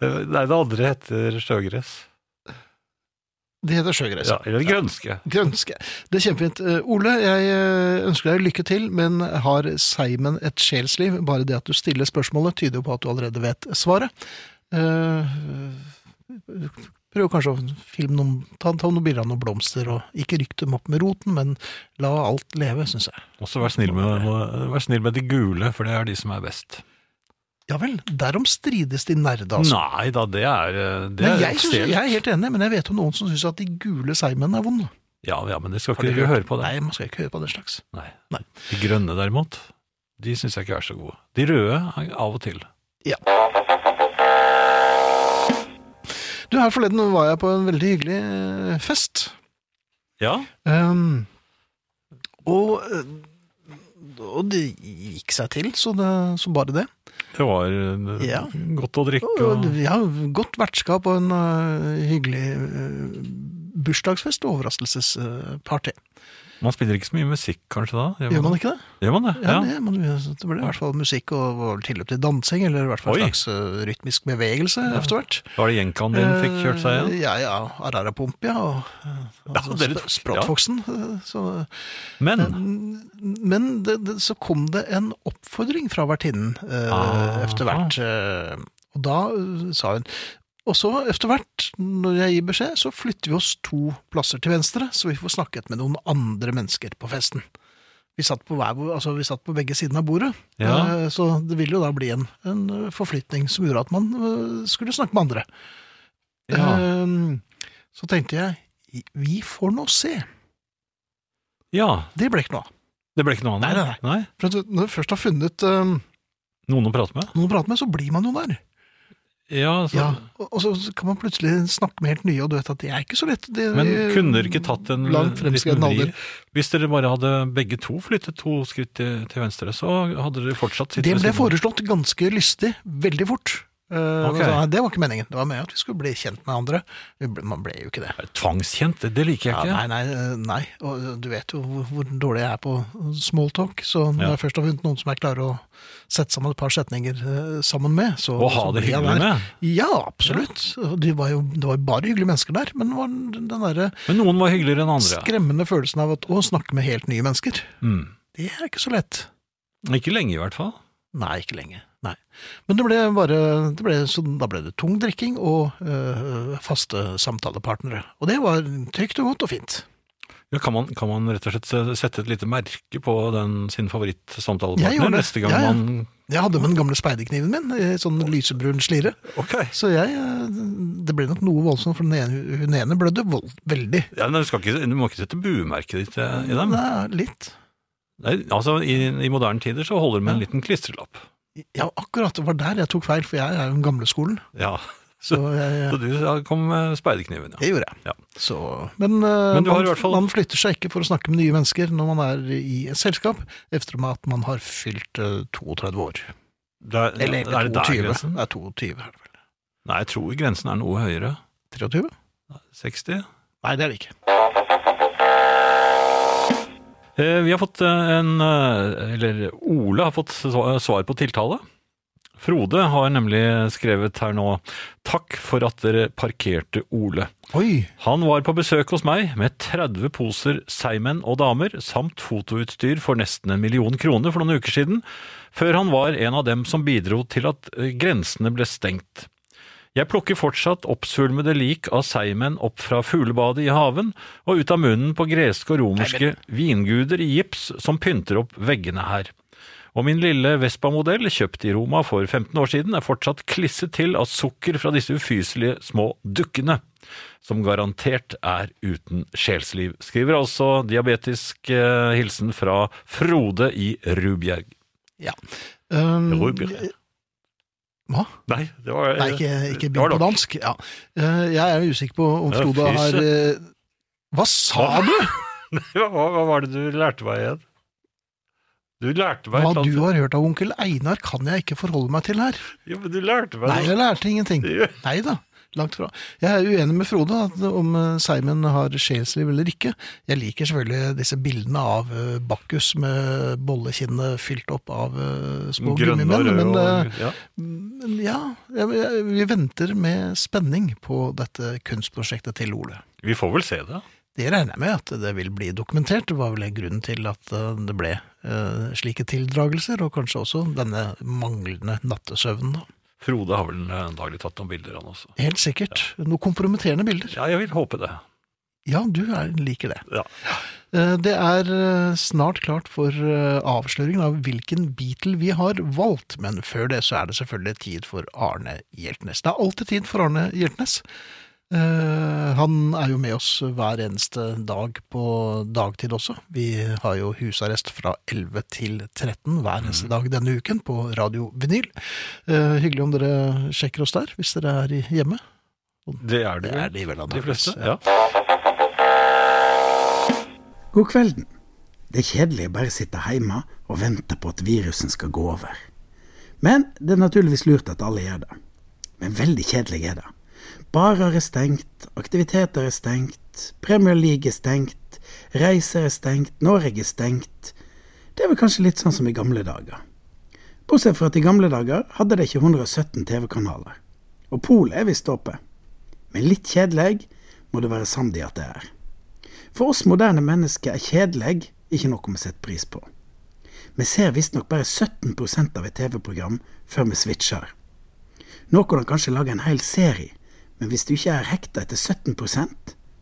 C: Eh, Nei, det andre heter sjøgress.
B: Det heter sjøgress.
C: Ja, eller grønske.
B: Grønske. Det er kjempefint. Eh, Ole, jeg eh, ønsker deg lykke til, men har Seimen et sjelsliv? Bare det at du stiller spørsmålet, tyder jo på at du allerede vet svaret. Eh, Prøv kanskje å filme noen, ta, ta noen bilder av noen blomster, og ikke rykk dem opp med roten, men la alt leve, syns jeg.
C: Og så vær snill, med, vær snill med de gule, for det er de som er best.
B: Ja vel, derom strides de nerde, altså.
C: Nei da, det er eh, det
B: Men
C: er
B: jeg, synes,
C: stelt.
B: jeg er helt enig, men jeg vet om noen som syns at de gule seigmennene er vonde.
C: Ja, ja, men det skal
B: Har
C: ikke
B: du
C: du høre på det.
B: Nei, man skal ikke høre på den slags.
C: Nei.
B: Nei.
C: De grønne derimot, de syns jeg ikke er så gode. De røde er av og til.
B: Du, her forleden var jeg på en veldig hyggelig eh, fest.
C: Ja,
B: Ehm, og, eh, og det gikk seg til, så, det, så bare det.
C: det var eh,
B: Ja.
C: godt å drikke
B: Og,
C: og
B: vi har godt vertskap og en eh, hyggelig eh, bursdagsfest og overraskelsesparty.
C: Man spiller ikke så mye musikk kanskje da?
B: Gjør man ikke det?
C: Gjør man det?
B: Ja, Det, man, det ble i hvert fall musikk og var vel tilløp til dansing, eller i hvert fall
C: Oi.
B: en slags eh, rytmisk bevegelse etter hvert.
C: Var det gjenkaen din fikk kjørt seg igjen?
B: Eh, Ja, ja. Ararapump, ja. Og, og
C: Ja,
B: så
C: dere
B: sp-
C: tok-
B: Språttfoksen. eh, Så
C: Men
B: Men, men det, det, så kom det en oppfordring fra vertinnen eh,
C: Ah.
B: etter hvert. eh, og da eh, sa hun Og så etter hvert, når jeg gir beskjed, så flytter vi oss to plasser til venstre, så vi får snakket med noen andre mennesker på festen. Vi satt på, hver, vår- altså, vi satt på begge sidene av bordet,
C: ja,
B: eh, så det ville jo da bli en, en eh, forflytning som gjorde at man eh, skulle snakke med andre.
C: ja.
B: Eh, så tenkte jeg vi får nå se.
C: ja.
B: Det ble ikke noe av.
C: Det ble ikke noe annet?
B: Nei, nei,
C: nei.
B: For at når du først har funnet eh,
C: Noen å prate med?
B: noen å prate med, så blir man jo der.
C: Ja, altså, så,
B: Ja, og, og så kan man plutselig snakke med helt nye, og du vet at det er ikke så lett. Det,
C: Men kunne dere ikke tatt en
B: Langt Eh, fremskreden
C: liten vri?
B: alder.
C: Hvis dere bare hadde begge to flyttet to skritt til, til venstre, så hadde dere fortsatt sittet
B: Det
C: ved
B: ble
C: siden av.
B: foreslått ganske lystig, veldig fort. Eh, Eh,
C: Ok.
B: så, nei, det var ikke meningen. Det var meningen at vi skulle bli kjent med andre. Vi ble, man ble jo ikke det.
C: Tvangskjent, det- det liker jeg
B: Ja,
C: ikke.
B: nei, nei, eh, nei. Og eh, du vet jo hvor, hvor dårlig jeg er på smalltalk. Så når
C: Ja.
B: jeg først har funnet noen som jeg klarer å sette sammen et par setninger eh, sammen med, så
C: Å ha
B: så
C: det
B: blir jeg
C: hyggelig
B: der.
C: med.
B: Ja, absolutt. Og De var jo, det var jo bare hyggelige mennesker der. Men det var den den derre
C: Men noen var hyggeligere enn andre.
B: skremmende følelsen av at, å snakke med helt nye mennesker,
C: Mm.
B: det er ikke så lett.
C: Ikke lenge, i hvert fall.
B: Nei, ikke lenge. Nei. Men det ble bare, det ble, så da ble det tung drikking og eh, faste samtalepartnere. Og det var trygt og godt og fint.
C: Ja, kan, man, kan man rett og slett se- sette et lite merke på den, sin
B: Jeg gjorde
C: favorittsamtalepartner
B: det.
C: neste gang
B: Ja, ja.
C: man
B: Jeg hadde med den gamle speiderkniven min, i sånn lysebrun slire.
C: Ok.
B: Så jeg, eh, det ble nok noe voldsomt, for den ene, hun ene blødde vold, veldig.
C: Ja, men du, skal ikke, du må ikke sette buemerket ditt eh, i dem.
B: Nei, litt.
C: Nei, altså, i, I moderne tider så holder det med en liten klistrelapp.
B: Ja, akkurat, det var der jeg tok feil, for jeg er jo den gamle skolen.
C: Ja,
B: Så jeg,
C: Så du ja, kom med speiderkniven, ja.
B: det gjorde jeg.
C: Ja.
B: Så, men eh,
C: Men du har
B: man,
C: i hvert fall-
B: man flytter seg ikke for å snakke med nye mennesker når man er i et selskap, efter at man har fylt eh, 32 år.
C: Der,
B: Eller
C: er det der
B: 22.
C: grensen?
B: Det er 22, er det vel.
C: Nei, jeg tror grensen er noe høyere.
B: 23?
C: 60?
B: Nei, det er det ikke.
C: Eh, Vi har fått eh, en eh, Eller Ole har fått sva- svar på tiltale. Frode har nemlig skrevet her nå 'Takk for at dere parkerte Ole'.
B: Oi,
C: Han var på besøk hos meg med 30 poser seigmenn og damer samt fotoutstyr for nesten en million kroner for noen uker siden, før han var en av dem som bidro til at eh, grensene ble stengt. Jeg plukker fortsatt oppsvulmede lik av seigmenn opp fra fuglebadet i haven og ut av munnen på greske og romerske vinguder i gips som pynter opp veggene her. Og min lille Vespa-modell, kjøpt i Roma for 15 år siden, er fortsatt klisset til av sukker fra disse ufyselige små dukkene som garantert er uten sjelsliv. Skriver altså diabetisk eh, hilsen fra Frode i Rubjerg.
B: ja. Um,
C: Rubjerg.
B: Hva?
C: Nei, det var
B: Nei, ikke, ikke
C: Eh, det
B: begynn på
C: var nok.
B: dansk. Ja. Eh, Jeg er jo usikker på om
C: Ja,
B: Frode
C: fy
B: har eh, Hva sa
C: Hva?
B: du?
C: Hva, hva var det du lærte meg igjen? Du lærte meg
B: Hva
C: et eller
B: du
C: annet-
B: har hørt av onkel Einar, kan jeg ikke forholde meg til her.
C: Jo, men du lærte meg
B: Nei,
C: noe.
B: jeg lærte ingenting.
C: Ja.
B: Nei da. Langt fra. Jeg er uenig med Frode at om eh, Simon har sjelsliv eller ikke. Jeg liker selvfølgelig disse bildene av eh, Bakkus med bollekinnet fylt opp av eh, små
C: Grønne og
B: gummimenn. Men
C: røde
B: eh,
C: og ja.
B: men ja, jeg, jeg, vi venter med spenning på dette kunstprosjektet til Ole.
C: Vi får vel se det.
B: Det regner jeg med at det vil bli dokumentert. Det var vel grunnen til at eh, det ble eh, slike tildragelser, og kanskje også denne manglende nattesøvnen. da.
C: Frode har vel eh, antagelig tatt noen bilder, han også.
B: Helt sikkert. Noen kompromitterende bilder.
C: Ja, jeg vil håpe det.
B: Ja, du er, liker det.
C: Ja.
B: Eh, Det er eh, snart klart for eh, avsløringen av hvilken Beatle vi har valgt, men før det så er det selvfølgelig tid for Arne Hjeltnes. Det er alltid tid for Arne Hjeltnes. Eh, Han er jo med oss hver eneste dag på dagtid også. Vi har jo husarrest fra 11 til 13 hver
C: Mm.
B: eneste dag denne uken på Radio Vinyl. Eh, Hyggelig om dere sjekker oss der, hvis dere er i- hjemme.
C: Det er det,
B: Det er de vel
C: de
B: antakeligvis.
C: fleste. Ja.
D: God kvelden. Det er kjedelig å bare sitte hjemme og vente på at virusen skal gå over. Men det er naturligvis lurt at alle gjør det. Men veldig kjedelig er det. Barer er stengt, aktiviteter er stengt, Premier League er stengt, reiser er stengt, Norge er stengt. Det er vel kanskje litt sånn som i gamle dager. Bortsett fra at i gamle dager hadde de ikke 117 TV-kanaler. Og polet er visst åpent. Men litt kjedelig må du være samd i at det er. For oss moderne mennesker er kjedelig ikke noe vi setter pris på. Vi ser visstnok bare 17 av et TV-program før vi switcher. Nå kan du kanskje lage en hel serie, men hvis du ikke er hekta etter 17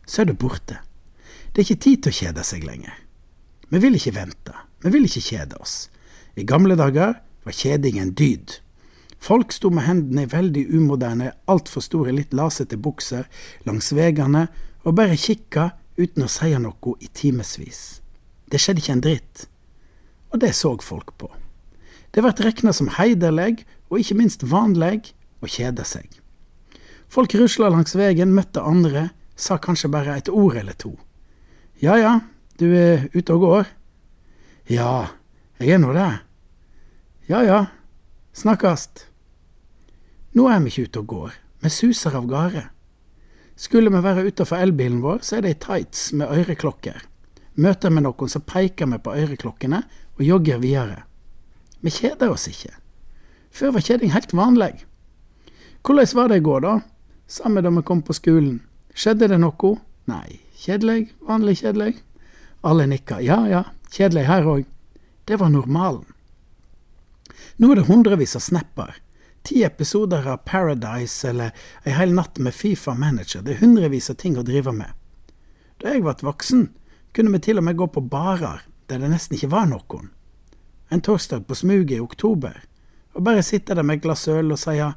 D: så er du borte. Det er ikke tid til å kjede seg lenger. Vi vil ikke vente, vi vil ikke kjede oss. I gamle dager var kjeding en dyd. Folk sto med hendene i veldig umoderne, altfor store, litt lasete bukser langs veiene og bare kikka uten å si noe i timevis. Det skjedde ikke en dritt. Og det så folk på. Det vart rekna som heiderleg, og ikke minst vanleg, å kjede seg. Folk rusla langs veien, møtte andre, sa kanskje bare et ord eller to. Ja ja, du er ute og går? Ja, jeg er nå det. Ja ja, snakkast. Nå er vi ikke ute og går, vi suser av gårde. Skulle vi være utafor elbilen vår, så er det i tights med øreklokker. Møter vi noen, så peker vi på øreklokkene og jogger videre. Vi kjeder oss ikke. Før var kjeding helt vanlig. Hvordan var det i går, da? Samme da vi kom på skolen. Skjedde det noe? Nei. Kjedelig? Vanlig kjedelig? Alle nikka. Ja ja, kjedelig her òg. Det var normalen. Nå er det hundrevis av snapper. Ti episoder av Paradise eller ei hel natt med Fifa Manager. Det er hundrevis av ting å drive med. Da jeg ble voksen, kunne vi til og med gå på barer der det nesten ikke var noen. En torsdag på smuget i oktober, og bare sitte der med et glass øl og si ja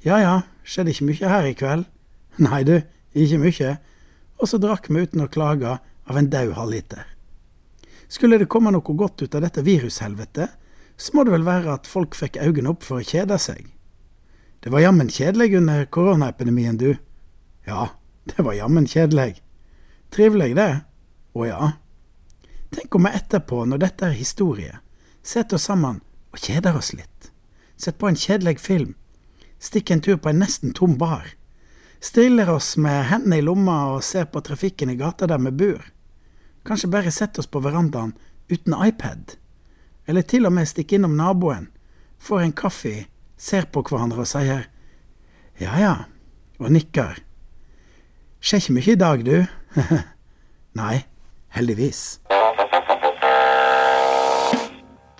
D: ja, skjedde ikke mye her i kveld. Nei du, ikke mye. Og så drakk vi uten å klage av en daud halvliter. Skulle det komme noe godt ut av dette virushelvetet, så må det vel være at folk fikk øynene opp for å kjede seg. Det var jammen kjedelig under koronaepidemien, du. Ja, det var jammen kjedelig. Trivelig, det. Å ja. Tenk om vi etterpå, når dette er historie, setter oss sammen og kjeder oss litt. Sett på en kjedelig film. Stikk en tur på en nesten tom bar. Stiller oss med hendene i lomma og ser på trafikken i gata der vi bor. Kanskje bare setter oss på verandaen uten iPad. Eller til og med stikker innom naboen, får en kaffe, ser på hverandre og sier ja ja, og nikker. Skjer ikke mye i dag, du. Nei, heldigvis.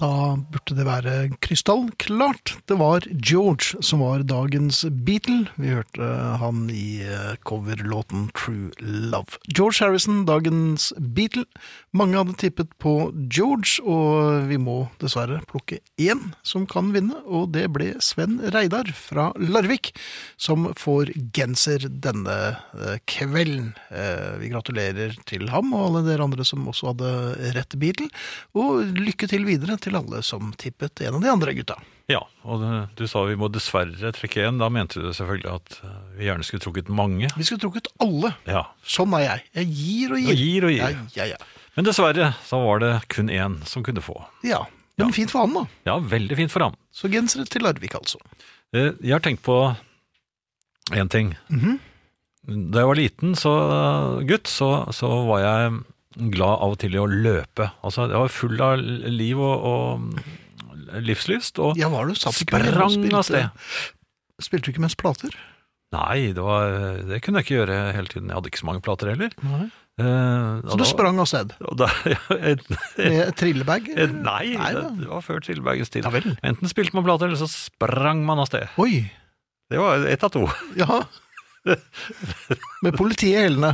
B: Da burde det være krystallklart. Det var George som var dagens Beatle. Vi hørte han i eh, coverlåten True Love. George Harrison, dagens Beatle. Mange hadde tippet på George, og vi må dessverre plukke én som kan vinne, og det ble Sven Reidar fra Larvik, som får genser denne eh, kvelden. Eh, Vi gratulerer til ham og alle dere andre som også hadde rett Beatle. Og lykke til videre til alle som tippet en av de andre gutta.
C: Ja, og det, du sa vi må dessverre trekke en. Da mente du selvfølgelig at eh, vi gjerne skulle trukket mange.
B: Vi skulle trukket alle.
C: Ja,
B: Sånn er jeg. Jeg gir og
C: og
B: gir.
C: gir og
B: Ja,
C: gir.
B: ja, ja.
C: Men dessverre så var det kun én som kunne få.
B: ja. Men fint for han, da.
C: Ja, veldig fint for ham.
B: Så gensere til Larvik, altså.
C: Eh, Jeg har tenkt på én ting.
B: Mhm.
C: Da jeg var liten så, gutt, så, så var jeg glad av og til i å løpe. Altså, jeg var full av liv og, og livslyst. Og
B: Ja, var du satt i kveld og
C: sprang av sted.
B: spilte, spilte du ikke mens plater?
C: Nei, det, var, det kunne jeg ikke gjøre hele tiden. Jeg hadde ikke så mange plater heller.
B: Nei.
C: Eh,
B: Så
C: og
B: du
C: da-
B: sprang av sted
C: og da- et, et,
B: med trillebag?
C: et,
B: eller?
C: eh, nei,
B: Nei, da.
C: det var før Trillebergens tid.
B: Ja vel.
C: Enten spilte man plater, eller så sprang man av sted.
B: Oi.
C: Det var ett av to.
B: Ja. Med politiet i hælene.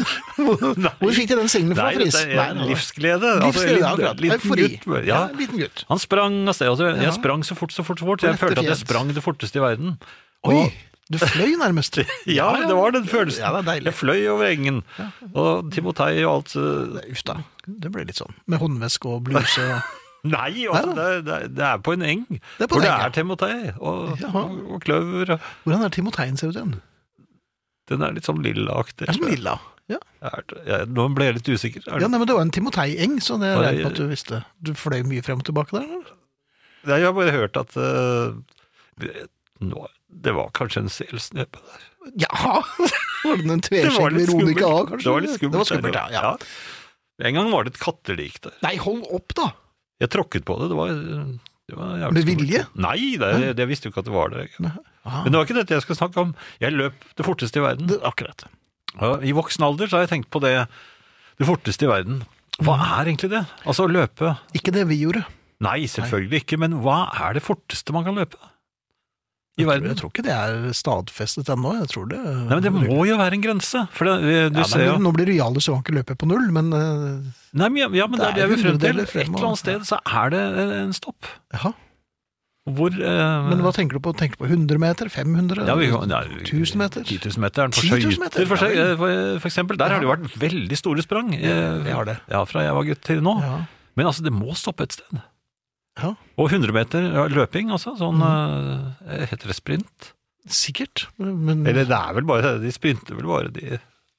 B: Hvor fikk de den singelen fra,
C: Nei,
B: Friis?
C: dette er livsglede. altså,
B: Livsglede,
C: liten-
B: akkurat.
C: liten
B: Eufori.
C: gutt.
B: Ja,
C: Ja,
B: en liten gutt.
C: Han sprang av sted. Altså, jeg
B: Ja.
C: sprang så fort, så fort, så fort.
B: På
C: Jeg
B: rette
C: følte at jeg
B: fjes.
C: sprang det forteste i verden.
B: Oi,
C: Og-
B: du fløy nærmest.
C: Ja, det var den følelsen.
B: Ja, det er deilig.
C: Jeg fløy over engen. Og Timotei og alt eh,
B: Uff da, det ble litt sånn. Med håndveske og bluse og
C: Nei, altså, det, er- det, er- det er på en eng.
B: Det er på
C: hvor
B: en
C: det
B: eng, ja.
C: er Timotei og,
B: Ja.
C: og, og kløver. og-
B: Hvordan er Timoteien ser ut igjen?
C: Den er litt sånn lillaaktig.
B: Det er som lilla. Ja,
C: Er det- ja, Nå ble jeg litt usikker. Er
B: ja
C: det-
B: nei, men det var en Timotei-eng, så det
C: Bare-
B: regner jeg med at du visste. Du fløy mye frem og tilbake der? eller?
C: Nei, Jeg har bare hørt at eh, nå, Det var kanskje en selsnepe der.
B: Ja! Var den en tveskjegg Veronica A, kanskje?
C: Det var litt skummelt.
B: Det var skummelt, ja.
C: der,
B: ja.
C: ja. En gang var det et kattelik der.
B: Nei, hold opp, da!
C: Jeg tråkket på det. Det var, det var jævlig
B: Med
C: skummelt.
B: vilje?
C: Nei, det, jeg, jeg visste jo ikke at det var det.
B: Ah,
C: Men det var ikke dette jeg skulle snakke om. Jeg løp det forteste i verden.
B: det, akkurat.
C: Ja, I voksen alder så har jeg tenkt på det. Det forteste i verden. Hva
B: Mm.
C: er egentlig det? Altså å løpe
B: Ikke det vi gjorde.
C: Nei, selvfølgelig ikke, men hva er det forteste man kan løpe? I
B: Jeg tror,
C: verden?
B: jeg tror ikke det er stadfestet ennå. Jeg tror det
C: Nei, men det må jo være en grense. For det, eh,
B: ja,
C: du
B: nei,
C: ser jo
B: men Nå blir du Jarle, så han ikke løper på null, men eh,
C: Nei, men, ja, ja, men det er det jeg vil frem til.
B: hundredeler
C: Et
B: frem,
C: eller annet sted så er det eh, en stopp.
B: jaha.
C: Hvor eh,
B: Men hva tenker du på? Tenker du på 100 meter? 500?
C: ja, vi, nei, vi-
B: 1000 meter?
C: 10 000 meter på
B: 10 000 meter,
C: skøyter, for,
B: ja vel.
C: eh, for- for eksempel. Der har det jo vært veldig store sprang. eh,
B: Vi har det.
C: Ja, fra jeg var gutt til nå.
B: Ja.
C: Men altså, det må stoppe et sted.
B: Ja. Mm.
C: Og 100 meter ja, løping, altså. Sånn eh, Heter det sprint?
B: Sikkert, men
C: Eller det er vel bare De sprinter vel bare, de.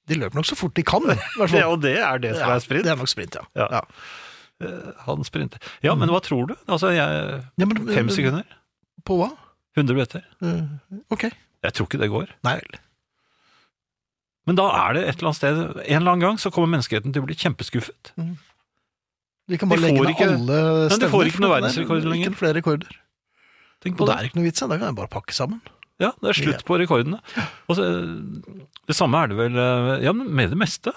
B: de løper nok så fort de kan. i hvert fall.
C: Ja, og det er det som
B: Ja,
C: er sprint.
B: Det er nok sprint, ja.
C: Ja.
B: Ja. Mm.
C: Eh, Han sprinter. Ja, men hva tror du? Altså, jeg
B: Ja, men-
C: Fem sekunder?
B: På hva?
C: 100 billetter.
B: Eh, ok.
C: Jeg tror ikke det går.
B: Nei vel.
C: Men da er det et eller annet sted, en eller annen gang, så kommer menneskeheten til å bli kjempeskuffet.
B: Vi kan bare
C: De
B: legge
C: får
B: ned
C: ikke-
B: alle
C: de
B: stemmer.
C: får ikke
B: for
C: noe
B: det er
C: verdensrekord lenger.
B: Ikke flere rekorder.
C: Tenk
B: Og
C: på
B: det
C: det.
B: er ikke noe vits i, da kan jeg bare pakke sammen.
C: Ja, det er slutt på rekordene. Og så, det samme er det vel eh, ja, men med det meste.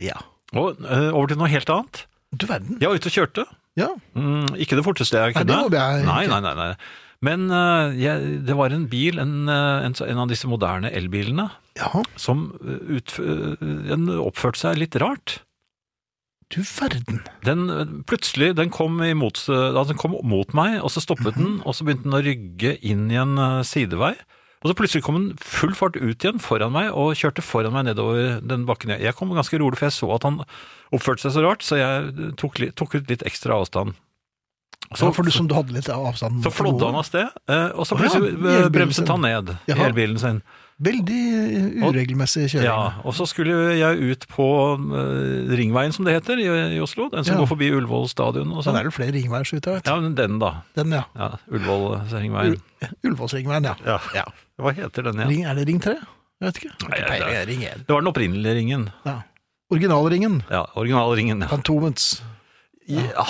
B: Ja.
C: Og eh, over til noe helt annet.
B: Du verden.
C: Jeg var ute og kjørte.
B: Ja.
C: Mm, ikke det forteste jeg
B: Nei,
C: kunne.
B: det håper jeg
C: Nei,
B: ikke.
C: nei, nei. nei. Men eh, jeg, det var en bil, en, eh, en, så- en av disse moderne elbilene,
B: Ja,
C: som eh, utf- eh, den oppførte seg litt rart.
B: du verden.
C: Den, eh, plutselig, den kom, imot, ja, den kom mot meg, og så stoppet
B: Mhm.
C: den, og så begynte den å rygge inn i en eh, sidevei. Og så plutselig kom den full fart ut igjen foran meg, og kjørte foran meg nedover den bakken. Jeg- Jeg kom ganske rolig, for jeg så at han oppførte seg så rart, så jeg tok, li- tok ut litt ekstra avstand.
B: Så, for du som du hadde litt avstand
C: Så flådde han av sted, eh, og så
B: Å ja,
C: plutselig
B: i
C: eh,
B: elbilen
C: bremset
B: sin.
C: han ned i
B: Jaha.
C: elbilen sin.
B: Veldig eh, uregelmessig kjøring.
C: Ja, og så skulle jeg ut på eh, Ringveien, som det heter, i, i Oslo. Den som
B: Ja.
C: går forbi Ullevål stadion og
B: Så det
C: sånn.
B: er vel flere ringveier, så vidt jeg vet.
C: Ja, men den da.
B: Den, ja.
C: Ja, Ullevål-Ringveien.
B: Ullevålsringveien, ja.
C: Ja. Hva heter den igjen?
B: Ring, er det ring 3? Jeg vet ikke.
C: Nei,
B: Ikke
C: det er-
B: peiling, jeg. Ring 1.
C: Det var den opprinnelige ringen.
B: Ja. Originalringen.
C: Ja, originalringen. Ja.
B: Fantomens.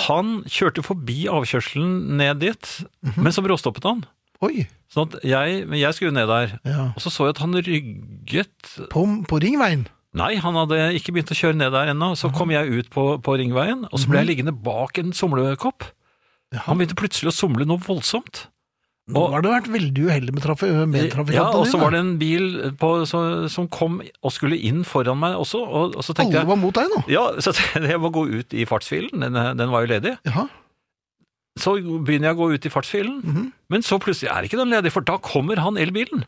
C: Han kjørte forbi avkjørselen ned dit, men så bråstoppet han.
B: Oi.
C: Sånn at jeg, men jeg skulle ned der,
B: Ja.
C: og så så jeg at han rygget
B: På, på ringveien.
C: Nei, han hadde ikke begynt å kjøre ned der ennå. Så kom jeg ut på, på Ringveien, og så ble jeg liggende bak en somlekopp. Han begynte plutselig å somle noe voldsomt.
B: Nå
C: Og-
B: har du vært veldig uheldig med, traf med trafikantene
C: Ja, og så
B: dine.
C: var det en bil på, så, som kom og skulle inn foran meg også, og, og så tenkte jeg
B: Alle var mot deg nå.
C: Ja, så jeg må gå ut i fartsfilen, den, den var jo ledig.
B: Jaha.
C: Så begynner jeg å gå ut i fartsfilen,
B: Mhm.
C: men så plutselig er ikke den ledig, for da kommer han elbilen.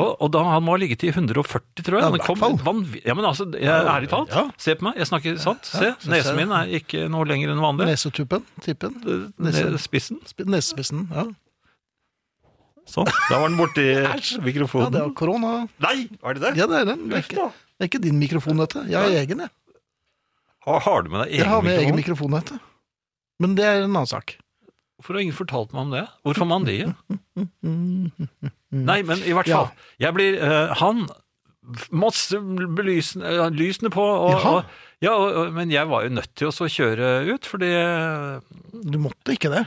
C: Og, og da han må ha ligget i 140, tror
B: Ja, i
C: jeg. Han
B: hvert
C: kom
B: fall.
C: vanv- ja, men altså, jeg, ærlig talt,
B: Ja.
C: se på meg, jeg snakker sant. Se,
B: så ser
C: nesen
B: jeg.
C: min er ikke noe lenger enn vanlig.
B: Nesetuppen. Tippen.
C: Ned
B: Nese,
C: spissen.
B: sp- nesespissen. Ja.
C: Sånn, da var den borti
B: ja, det
C: mikrofonen.
B: er korona.
C: Nei, er det det?
B: Ja, det er den. Det er ikke, det er ikke din mikrofon, dette. Jeg har egen, jeg.
C: Har, har du med deg
B: Jeg
C: egen
B: har med egen
C: mikrofon?
B: mikrofon, vet du. Men det er en annen sak.
C: Hvorfor har ingen fortalt meg om det? Hvorfor man det? Nei, men i hvert
B: Ja.
C: fall. Jeg blir eh, Han Masse belysende, eh, lysene på, og,
B: Jaha.
C: og, ja, og, og- men jeg var jo nødt til å så kjøre ut, fordi eh,
B: Du måtte ikke det.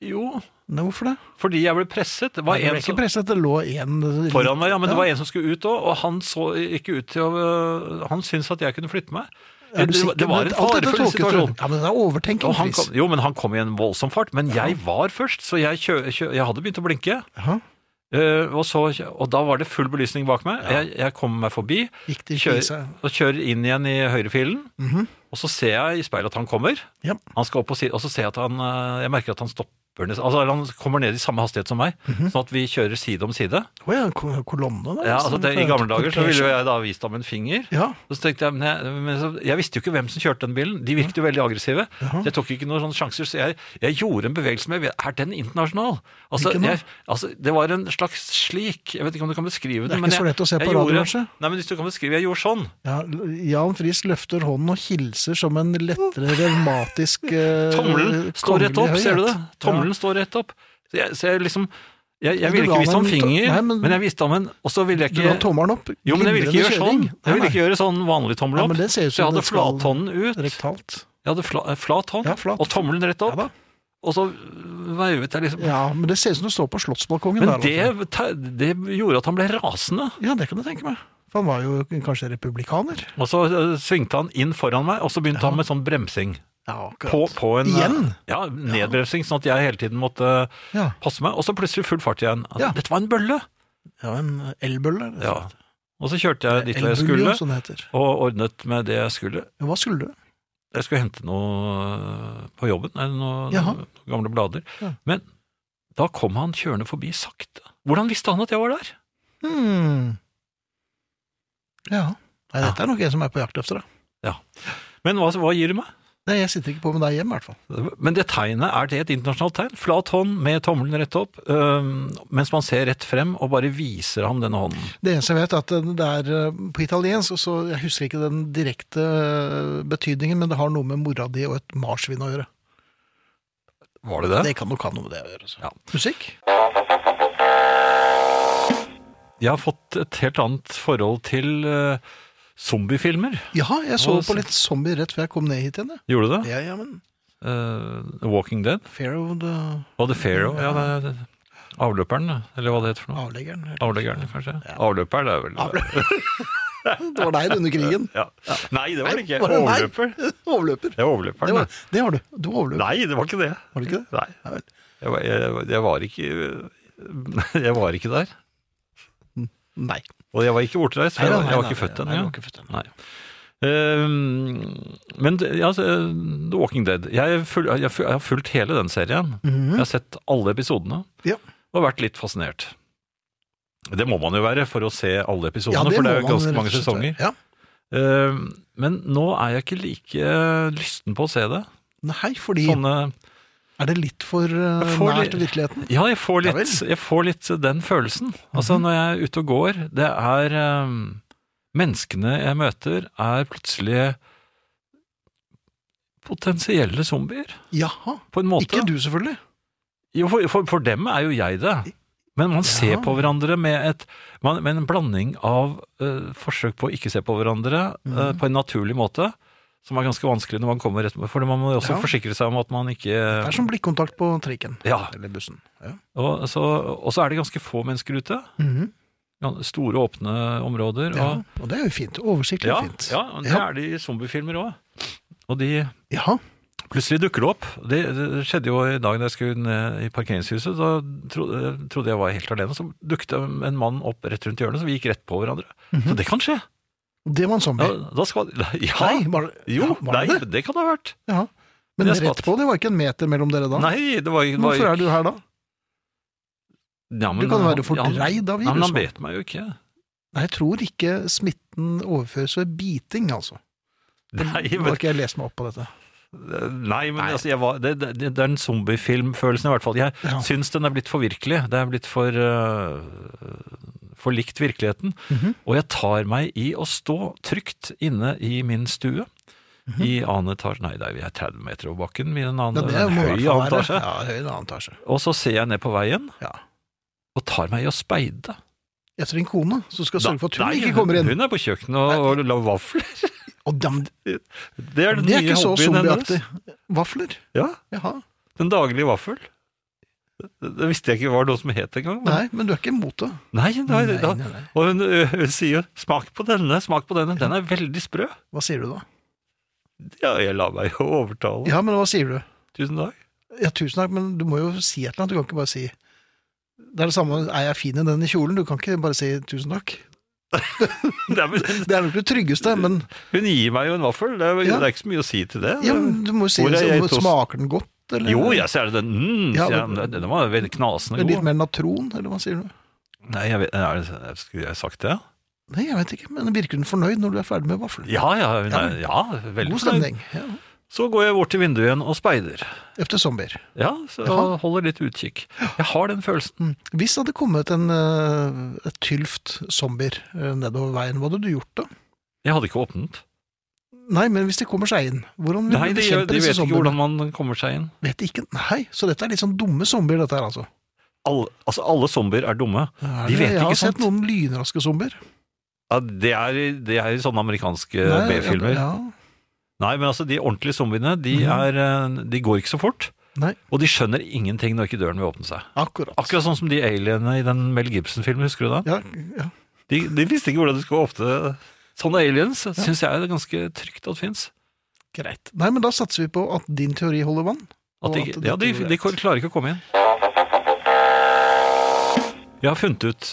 C: Jo,
B: Nei, hvorfor det?
C: fordi jeg ble presset. Det var
B: Jeg
C: en
B: ble ikke
C: som,
B: presset, det lå en
C: foran meg, ja, men det var en som skulle ut òg, og han så ikke ut til å eh, Han syntes at jeg kunne flytte meg.
B: Er du
C: Det,
B: sikker?
C: det var en
B: Men alt dette
C: farefull
B: tolket du.
C: situasjon.
B: Ja, men det er overtenking,
C: Og han
B: Chris.
C: kom, jo, men han kom i en voldsom fart. Men jeg var først, så jeg, kjø, kjø, jeg hadde begynt å blinke.
B: Jaha.
C: Eh, og, så, og da var det full belysning bak meg. Jeg, jeg kommer meg forbi
B: Gikk det ikke i
C: kjører,
B: seg?
C: og kjører inn igjen i høyrefilen. Og så ser jeg i speilet at han kommer.
B: Ja.
C: Han skal opp og, si, og så ser jeg at han eh, Jeg merker at han stopper nes- altså Han kommer ned i samme hastighet som meg, sånn at vi kjører side om side.
B: Å ja, ko- kolonne der.
C: Ja,
B: altså.
C: altså det, I gamle dager så ville
B: Kortesje.
C: jo jeg da vist ham en finger.
B: Ja,
C: Og så tenkte Jeg men jeg, men så, jeg visste jo ikke hvem som kjørte den bilen. De virket jo veldig aggressive. Så jeg tok ikke noen sånne sjanser. Så jeg, jeg gjorde en bevegelse med Er den internasjonal? Altså,
B: Hvilken da?
C: jeg, altså, det var en slags slik Jeg vet ikke om du kan beskrive
B: Det er
C: den, men
B: ikke så lett å se
C: jeg, jeg
B: på radio,
C: gjorde-
B: kanskje? Eh,
C: Nei, men hvis du kan beskrive Jeg gjorde sånn.
B: ja, Jan Friis løfter hånden og hilser som en lettere revmatisk eh,
C: Tommelen står rett opp,
B: kongelig
C: ser du det?
B: høyhet.
C: Tommelen står rett opp. Så jeg, så jeg liksom Jeg, jeg
B: Du
C: ville
B: la
C: ikke vist ham
B: den to-
C: finger,
B: Nei, men-
C: men, jeg visste ham en Og så ville jeg
B: Ja. Du la
C: ikke
B: tommelen opp.
C: Jo, men jeg ville ikke
B: glimrende
C: gjøre sånn.
B: kjøring.
C: Jeg ville
B: Nei,
C: ikke gjøre sånn vanlig tommel
B: Nei,
C: opp.
B: men det ser ut
C: Så jeg
B: som
C: hadde
B: det skal-
C: flathånden ut.
B: nei. Rektalt.
C: Jeg hadde fla, eh, flat hånd
B: Ja, flat.
C: og tommelen rett opp.
B: Ja da.
C: og så øh, veivet jeg liksom.
B: Ja, men det ser ut som du står på slottsbalkongen
C: Men
B: der. altså.
C: det, te- det gjorde at han ble rasende.
B: Ja, det kan du tenke meg. For han var jo kanskje republikaner.
C: Og så øh, svingte han inn foran meg, og så begynte han med sånn bremsing.
B: Ja,
C: På,
B: akkurat.
C: på en, øh,
B: Igjen?
C: Ja, nedbremsing, sånn at jeg hele tiden måtte øh,
B: Ja.
C: passe meg. Og så plutselig full fart igjen. Altså,
B: Ja.
C: Dette var en bølle!
B: ja, en elbølle.
C: Ja. Og så kjørte jeg dit hvor jeg
B: Elbuljon,
C: skulle,
B: som det heter.
C: og ordnet med det jeg skulle.
B: Ja, Hva skulle du?
C: Jeg skulle hente noe øh, på jobben, eller noe,
B: Jaha.
C: noen gamle blader.
B: Ja.
C: Men da kom han kjørende forbi sakte. Hvordan visste han at jeg var der?
B: Hmm. Ja. Nei, dette er nok jeg som er på jakt etter, da.
C: Men hva, hva gir det meg?
B: Nei, jeg sitter ikke på med deg hjem, i hvert fall.
C: Men det tegnet, er det et internasjonalt tegn? Flat hånd med tommelen rett opp, øhm, mens man ser rett frem og bare viser ham denne hånden.
B: Det eneste jeg vet, er at det er eh, på italiensk, så jeg husker ikke den direkte eh, betydningen, men det har noe med mora di og et marsvin å gjøre.
C: Var det det?
B: Det kan nok ha noe med det å gjøre. Så.
C: Ja.
B: altså. Musikk?
C: Jeg har fått et helt annet forhold til eh, zombiefilmer.
B: Ja, jeg så
C: Å,
B: på litt zombie rett før jeg kom ned hit igjen. jeg.
C: Gjorde du det?
B: Ja, ja, men
C: Eh, The Walking Dead
B: Fair of the
C: og The Pharaoh. Ja, det er avløperen, da, eller hva det heter for noe.
B: avleggeren. eller-
C: Avleggeren, kanskje? Avløper, det er vel
B: Det var deg under krigen.
C: ja. Nei, det var det ikke.
B: Var det meg?
C: Overløper.
B: Overløper.
C: Det
B: Det
C: var overløperen.
B: var,
C: det.
B: det var du. Du var overløper.
C: Nei, det var ikke det.
B: Var det ikke det?
C: Nei.
B: Nei vel.
C: Jeg var, jeg, jeg var ikke Jeg var ikke der.
B: Nei.
C: Og jeg var ikke bortreist, for
B: Nei,
C: jeg
B: nei,
C: var,
B: nei,
C: jeg var ikke
B: nei, nei,
C: født
B: du var
C: ennå.
B: ikke født ennå.
C: Nei. Ehm, men ja, altså, The Walking Dead jeg, føl- jeg, føl- jeg har fulgt hele den serien.
B: Mhm.
C: Jeg har sett alle episodene
B: Mm. Ja.
C: og vært litt fascinert. Det må man jo være for å se alle
B: Ja,
C: episodene, for det er
B: må
C: jo
B: man
C: ganske
B: rett og
C: mange
B: slett
C: sesonger.
B: gjøre. Ja.
C: Ehm, men nå er jeg ikke like lysten på å se det.
B: Nei, fordi
C: Sånne,
B: Er det litt for eh,
C: Jeg Sånn- får
B: nært
C: litt-
B: virkeligheten?
C: ja, jeg får,
B: Ja Mhm.
C: litt, jeg får litt den følelsen. Altså, når jeg er ute og går, det er ehm, Menneskene jeg møter, er plutselig potensielle zombier,
B: Jaha.
C: på en måte.
B: Ikke du, selvfølgelig.
C: Jo, for, for, for dem er jo jeg det. Men man ser på hverandre med, et, man, med en blanding av eh, forsøk på å ikke se på hverandre
B: Mhm.
C: eh, på en naturlig måte, som er ganske vanskelig når man kommer rett med For man må jo også
B: Ja.
C: forsikre seg om at man ikke
B: Det er sånn. som blikkontakt på trikken.
C: Ja.
B: Eller bussen. Ja.
C: Og så, og så er det ganske få mennesker ute.
B: Mhm.
C: gan- Store, åpne områder.
B: ja.
C: Og,
B: Og det er jo fint. Oversiktlig
C: ja,
B: fint.
C: ja, og det
B: Ja.
C: er det i zombiefilmer òg. Og de
B: Jaha.
C: Plutselig dukker det opp. Det, det skjedde jo i dag da jeg skulle ned i parkeringshuset. Da tro, eh, trodde jeg var helt alene. Så dukket en mann opp rett rundt hjørnet, så vi gikk rett på hverandre.
B: Mhm.
C: Så det kan skje.
B: Det var en
C: Ja,
B: zombie.
C: da skal, ja,
B: Nei, var,
C: jo,
B: ja, var
C: nei,
B: det det?
C: det kan det ha vært.
B: Ja. Men
C: Jeg
B: rett
C: skvatt.
B: på, det var ikke en meter mellom dere da?
C: Nei, det var, det var
B: Sånn. Hvorfor er du her da?
C: ja,
B: Du kan jo
C: han-
B: være fordreid av
C: han- Nei, men han
B: virus.
C: bet meg jo ikke.
B: Nei, jeg tror ikke smitten overføres ved biting, altså.
C: Nei,
B: Nå
C: men,
B: har ikke jeg lest meg opp på dette.
C: nei, men altså, jeg var, det, det, det er den zombiefilmfølelsen i hvert fall. Jeg
B: Ja.
C: syns den er blitt for virkelig. Det er blitt for, eh, for likt virkeligheten.
B: Mhm.
C: Og jeg tar meg i å stå trygt inne i min stue. I annen etasje Nei, det er, vi er 30 meter over bakken. Vi er en
B: Mhm. Ja,
C: annen,
B: det
C: en
B: må i
C: høy
B: hvert fall være.
C: annen etasje.
B: Ja, høy en annen etasje.
C: Og så ser jeg ned på veien
B: Ja.
C: og tar meg i å speide.
B: Etter en kone, så skal jeg sørge for at hun
C: Nei,
B: ikke kommer inn.
C: Hun er på kjøkkenet og, og lager vafler.
B: Og dem,
C: Det er den
B: det er
C: nye
B: ikke så
C: hobbyen
B: zombieaktig.
C: hennes.
B: Vafler?
C: Ja,
B: Jaha.
C: den daglige vaffel. Det, det visste jeg ikke var noe som het engang. men-
B: Nei, men du er ikke imot det?
C: Nei, nei,
B: Nei,
C: da,
B: nei, nei.
C: og hun, ø, hun sier jo 'smak på denne', 'smak på denne'. Den er veldig sprø.
B: Hva sier du da?
C: Ja, jeg lar meg jo overtale.
B: Ja, men hva sier du?
C: Tusen takk.
B: Ja, tusen takk, men du må jo si et eller annet. Du kan ikke bare si Det er det samme, er jeg fin i denne kjolen? Du kan ikke bare si tusen takk.
C: Nei, men,
B: Det er nok det tryggeste, men
C: hun gir meg jo en vaffel. Det er,
B: Ja.
C: det er ikke så mye å si til det.
B: ja, men du må jo si
C: Hvor er
B: det
C: jeg
B: sånn,
C: toast?
B: smaker den godt? Eller?
C: jo, jeg ser det. Mm,
B: Ja,
C: sier jeg,
B: men-
C: men den var veldig knasende
B: Med litt
C: god.
B: mer natron, eller hva sier du?
C: Nei, jeg vet, er det, Skulle jeg sagt det?
B: Nei, jeg vet ikke, men virker den fornøyd når du er ferdig med vaflene?
C: Ja, ja. hun
B: Ja,
C: er-
B: men-
C: ja veldig
B: God
C: fornøyd.
B: stemning. Ja.
C: Så går jeg bort til vinduet igjen og speider.
B: Efter zombier.
C: Ja, så
B: Jaha.
C: og holder litt utkikk. Jeg har den følelsen.
B: Mm. Hvis det hadde kommet en eh, et tylft zombier eh, nedover veien, hva hadde du gjort da?
C: Jeg hadde ikke åpnet.
B: Nei, men hvis de kommer seg inn, hvordan vil
C: Nei,
B: du
C: de,
B: bekjempe
C: de
B: disse
C: vet ikke
B: zombiene?
C: hvordan man kommer seg inn.
B: Vet ikke, nei, så dette er litt sånn dumme zombier dette her altså.
C: Alle, altså, alle zombier er dumme.
B: Er
C: De
B: det-
C: vet
B: Jeg
C: ikke
B: har
C: sant.
B: sett noen lynraske zombier.
C: Ja, det, er, i- det er i sånne amerikanske
B: Nei,
C: Eh, B-filmer.
B: Ja, Mhm.
C: Nei, men altså, de ordentlige zombiene, de, er, eh, de går ikke så fort.
B: Nei.
C: Og de skjønner ingenting når ikke døren vil åpne seg.
B: akkurat.
C: Akkurat sånn som de alienene i den Mel Gibson-filmen, husker du da?
B: Ja, ja.
C: De, de visste ikke hvordan de skulle åpne Sånne aliens syns jeg er ganske trygt at fins.
B: Greit. Nei, men da satser vi på at din teori holder vann.
C: At
B: og
C: de,
B: at
C: ja, de,
B: dette
C: de
B: går greit.
C: klarer ikke å komme inn. Jeg har funnet ut,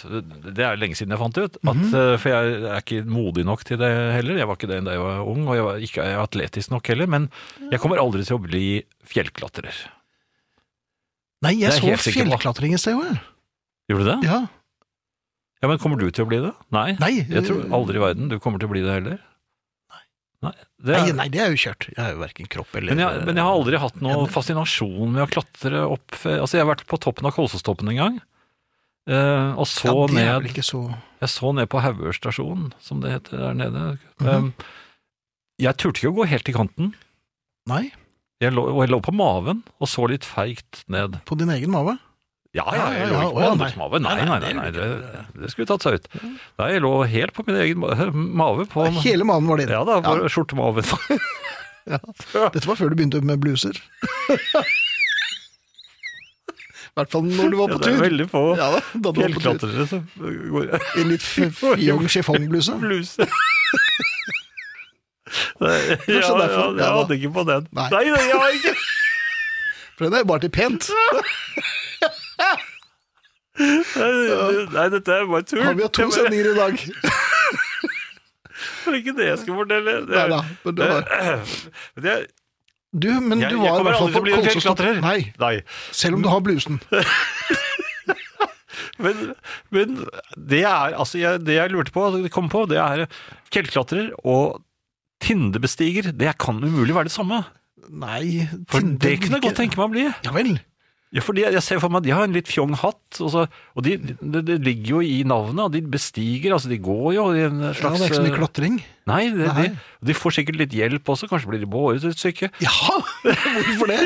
C: det er lenge siden jeg fant det ut, at,
B: Mhm.
C: eh, for jeg er ikke modig nok til det heller. Jeg var ikke det da jeg var ung, og jeg var ikke atletisk nok heller. Men jeg kommer aldri til å bli fjellklatrer.
B: Nei, jeg
C: Det er jeg helt
B: så
C: sikker på.
B: fjellklatring i sted òg, jeg.
C: Gjorde du det?
B: Ja.
C: Ja, men kommer du til å bli det? Nei.
B: Nei, eh,
C: Jeg tror aldri i verden du kommer til å bli det heller. Nei. det er,
B: nei, nei, det er jo kjørt. Jeg har jo verken kropp eller
C: Men jeg, men jeg har aldri hatt noe fascinasjon med å klatre opp Altså, jeg har vært på toppen av Kolsåstoppen en gang. eh, og så
B: ja, det er vel
C: ned
B: ikke så
C: Jeg så ned på Haugør stasjon, som det heter der nede. Eh, jeg turte ikke å gå helt til kanten.
B: Nei,
C: Jeg lå, og jeg lå på maven og så litt feigt ned.
B: på din egen mage.
C: Ja, ja, jeg lå
B: Ja, ja,
C: ikke på
B: å, ja,
C: andres
B: nei.
C: mave.
B: Nei,
C: Nei, nei,
B: nei,
C: nei, nei det, det skulle tatt seg ut. Nei, jeg lå helt på min egen ma- mave. På,
B: Hele mannen var din.
C: Ja da, på skjortemaven.
B: Dette var før du begynte med bluser. I hvert fall når du var
C: Ja,
B: på
C: det er
B: tur.
C: veldig få
B: Ja da, da du var på tur.
C: fjellklatrere som går
B: I en litt fjong chiffonbluse.
C: bluse. Nei, Ja,
B: Kanskje
C: ja,
B: derfor.
C: jeg
B: Ja, da.
C: hadde ikke på den.
B: Nei.
C: Nei, nei, jeg har ikke
B: For den er jo bare til pent.
C: Nei, Nei, dette er bare tull.
B: Har vi hatt to
C: Det var-
B: sendinger i dag?
C: Det var ikke det jeg skulle fortelle. Det,
B: Nei da. Men det var.
C: Men jeg,
B: Du, men
C: jeg,
B: du
C: jeg
B: var i
C: kommer
B: hvert fall
C: aldri til
B: på
C: å bli en
B: Kolsås-
C: fjellklatrer.
B: Nei,
C: Nei.
B: selv om du har blusen.
C: Men, men det er altså jeg, Det jeg lurte på, altså, kom på, det er fjellklatrer og Tindebestiger. Det kan umulig være det samme.
B: Nei,
C: For
B: Tinder
C: det kunne jeg
B: liker-
C: godt tenke meg å bli.
B: Ja vel.
C: Ja, fordi jeg, jeg ser for meg at De har en litt fjong hatt, og, så, og de, det, det ligger jo i navnet. Og de bestiger, altså de går jo i en
B: Ja,
C: slags
B: det er ikke så mye
C: eh,
B: klatring.
C: Nei, det,
B: Nei.
C: De, de får sikkert litt hjelp også. Kanskje blir de båret et stykke.
B: Ja, hvorfor det?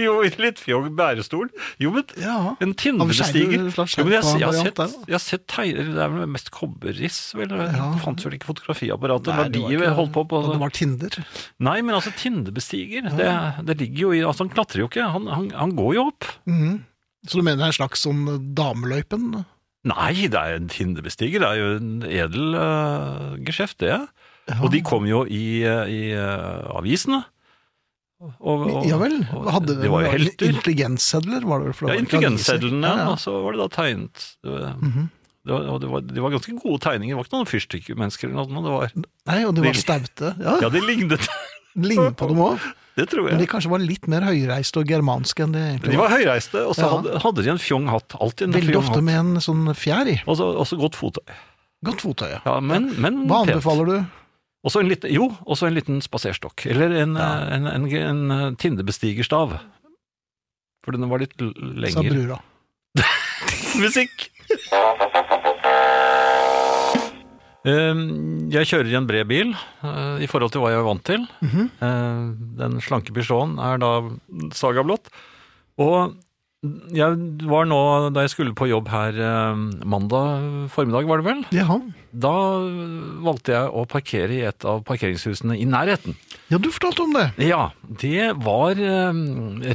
C: Jo, i litt fjong bærestol. Jo, men
B: Ja.
C: en tindebestiger.
B: Av skjerm-
C: Jo, men jeg, jeg, har
B: skjermvariant
C: sett,
B: der, da.
C: jeg har sett tegner, det er vel mest kobberriss, vel? Det
B: Ja.
C: fantes vel ikke fotografiapparatet
B: Nei,
C: når
B: det
C: de
B: var ikke-
C: Sånn holdt på sånn- på
B: Og det var Tinder.
C: Nei, men altså, tindebestiger, det, det ligger jo i Altså, han klatrer jo ikke, han, han, han går jo opp.
B: Mhm. Så du mener det er en slags sånn dameløypen?
C: Nei, det er en tindebestiger, det er jo en edel øh, geskjeft, det.
B: Ja.
C: Og de kom jo i, øh, i øh, avisene. Og, og-
B: ja vel.
C: og
B: Hadde,
C: de var jo helter.
B: Intelligenssedler, var det vel? for det
C: Ja,
B: var ikke aviser.
C: intelligenssedlene,
B: Ja, ja.
C: og så var det da tegnet øh,
B: Mhm.
C: det var, og det, var, det var ganske gode tegninger, det var ikke noen fyrstikkmennesker eller noe. Det var,
B: Nei, og de var
C: De-
B: staute. Ja,
C: ja, de lignet,
B: Ligner på dem òg.
C: det tror
B: Men de
C: jeg.
B: kanskje var litt mer høyreiste og germanske enn de egentlig
C: De var høyreiste, og så
B: Ja.
C: hadde, hadde de en fjong hatt. Alltid en
B: Veldig
C: fjong
B: ofte
C: hatt.
B: med en sånn fjær i.
C: Og så også godt fottøy.
B: Godt fottøy. ja.
C: Ja, men, men
B: Hva
C: pent.
B: anbefaler du?
C: Og så en liten, jo, og så en liten spaserstokk. Eller en, eh, en, en, en, eh, tindebestigerstav. For den var litt l-
B: sa
C: lengre.
B: brura.
C: Musikk! Um, Jeg kjører i en bred bil, eh, i forhold til hva jeg er vant til.
B: Mhm.
C: Eh, Den slanke Peugeoten er da sagablått. Og jeg var nå, da jeg skulle på jobb her eh, mandag formiddag, var det vel,
B: Jaha.
C: da valgte jeg å parkere i et av parkeringshusene i nærheten.
B: Ja, du fortalte om det.
C: Ja, det var eh,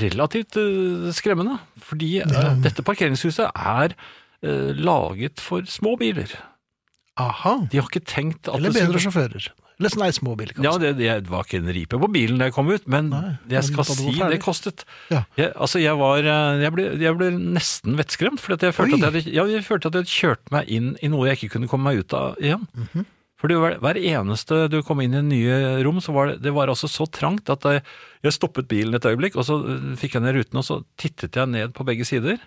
C: relativt eh, skremmende, fordi eh,
B: Ja.
C: dette parkeringshuset er eh, laget for små biler.
B: Aha.
C: De har ikke tenkt at
B: Eller
C: det
B: bedre
C: skulle...
B: sjåfører. Eller sånn ei småbil,
C: Ja,
B: kanskje.
C: det, det var ikke en ripe på bilen da jeg kom ut, men
B: Nei,
C: jeg
B: men da
C: skal
B: du var
C: si
B: ferdig.
C: det kostet.
B: Ja.
C: Jeg, altså, jeg var eh, Jeg ble, jeg ble nesten vettskremt, for jeg, følte
B: Oi.
C: at jeg, hadde- ja, jeg følte at jeg hadde kjørt meg inn i noe jeg ikke kunne komme meg ut av igjen.
B: Mhm.
C: For det var, hver eneste du kom inn i nye rom, så var det, det var altså så trangt at jeg, jeg stoppet bilen et øyeblikk, og så eh, fikk jeg ned ruten, og så tittet jeg ned på begge sider.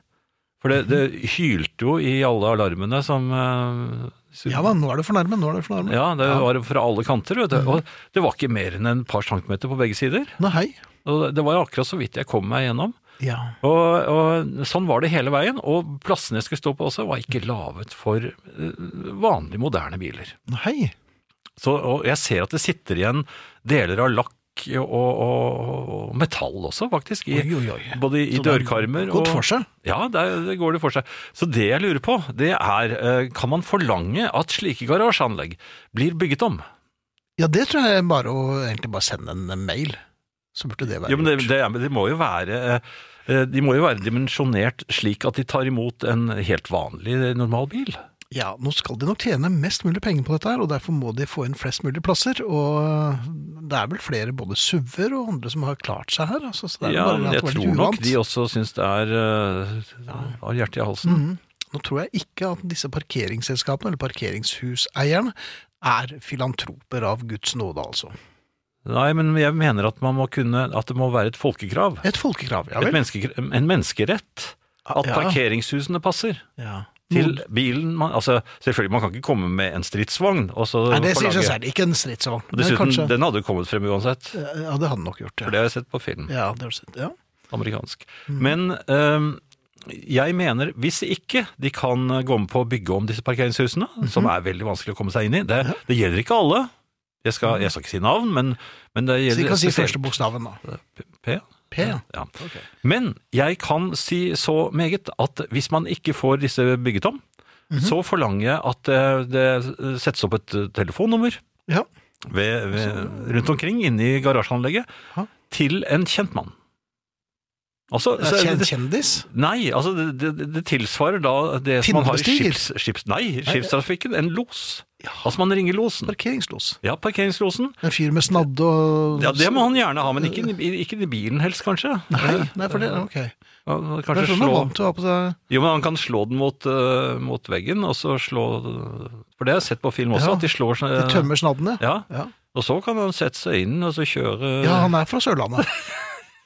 C: For det, det hylte jo i alle alarmene som eh,
B: Ja, da, nå er det fornærmet, nå er det fornærmet.
C: ja, det var fra alle kanter, vet du.
B: Mhm.
C: Og det var ikke mer enn en par centimeter på begge sider.
B: Nei, hei.
C: Og det var akkurat så vidt jeg kom meg gjennom.
B: Ja.
C: Og, og sånn var det hele veien. Og plassene jeg skulle stå på også, var ikke laget for eh, vanlige, moderne biler.
B: Nei, hei.
C: Så, og jeg ser at det sitter igjen deler av lakk og, og, og metall også, faktisk. I,
B: Oi, oi, oi.
C: Både i
B: Så det er
C: dørkarmer
B: Godt for seg.
C: ja, der det går det for seg. Så det jeg lurer på, det er eh, kan man forlange at slike garasjeanlegg blir bygget om?
B: Ja, det tror jeg er bare å egentlig bare sende en mail. Så burde det være
C: Jo, men det,
B: gjort.
C: det, er- men det må jo være eh, eh, De må jo være dimensjonert slik at de tar imot en helt vanlig, eh, normal bil.
B: Ja, nå skal de nok tjene mest mulig penger på dette her, og derfor må de få inn flest mulig plasser. Og det er vel flere, både SUV-er og andre, som har klart seg her. Altså, så det er
C: Ja,
B: bare at det
C: jeg
B: var litt
C: tror nok
B: uvant.
C: de også syns det er eh, har hjertet i halsen.
B: Mhm. Nå tror jeg ikke at disse parkeringsselskapene, eller parkeringshuseierne, er filantroper av Guds nåde, altså.
C: Nei, men jeg mener at, man må kunne, at det må være et folkekrav.
B: Et folkekrav, ja
C: et
B: vel? Ah,
C: menneske, en menneskerett. At
B: Ja.
C: parkeringshusene passer
B: Ja.
C: til bilen man, altså, Selvfølgelig, man kan ikke komme med en stridsvogn og så
B: Nei, det sier seg
C: forlange
B: selv. Ikke en stridsvogn.
C: Og
B: men
C: Dessuten,
B: kanskje-
C: den hadde jo kommet frem uansett.
B: Ja, det hadde den nok gjort,
C: For
B: ja.
C: det har jeg sett på film.
B: Ja, det har du sett. Ja.
C: amerikansk.
B: Mm.
C: Men øhm, jeg mener, hvis ikke de kan eh, gå med på å bygge om disse parkeringshusene,
B: Mhm.
C: som er veldig vanskelig å komme seg inn i, det, det gjelder ikke alle. Jeg skal, jeg skal ikke si navn, men, men
B: Mm.
C: det
B: Så
C: gjelder
B: vi kan si
C: spesielt-
B: første bokstaven, da.
C: P?
B: P, ja.
C: Ja. Men jeg kan si så meget at hvis man ikke får disse bygget om,
B: Mhm.
C: så forlanger jeg at eh, det settes opp et eh, telefonnummer
B: ja.
C: ved, ved, rundt omkring inne i garasjeanlegget
B: Ja.
C: til en kjent mann. Altså,
B: Det
C: så-
B: er Kjen kjendis.
C: Nei, altså det, det, det tilsvarer da det som man har i
B: Pinnebestiger?
C: skips, skips, nei, skipstrafikken, en los. Altså man ringer losen.
B: Parkeringslos.
C: Ja, parkeringslosen.
B: En fyr med snadde og
C: Ja, Det må han gjerne ha, men ikke, i- ikke i bilen helst, kanskje.
B: Nei, nei, for det Ok.
C: Han
B: Det
C: kan
B: er
C: Kanskje
B: sånn han er
C: slå
B: vant til å ha på seg
C: Jo, men han kan slå den mot, eh, mot veggen, og så slå For det har jeg sett på film også,
B: Ja,
C: at de slår sånn
B: De tømmer snaddene.
C: Ja.
B: Ja.
C: Og så kan han sette seg inn og så kjøre
B: ja, han er fra Sørlandet.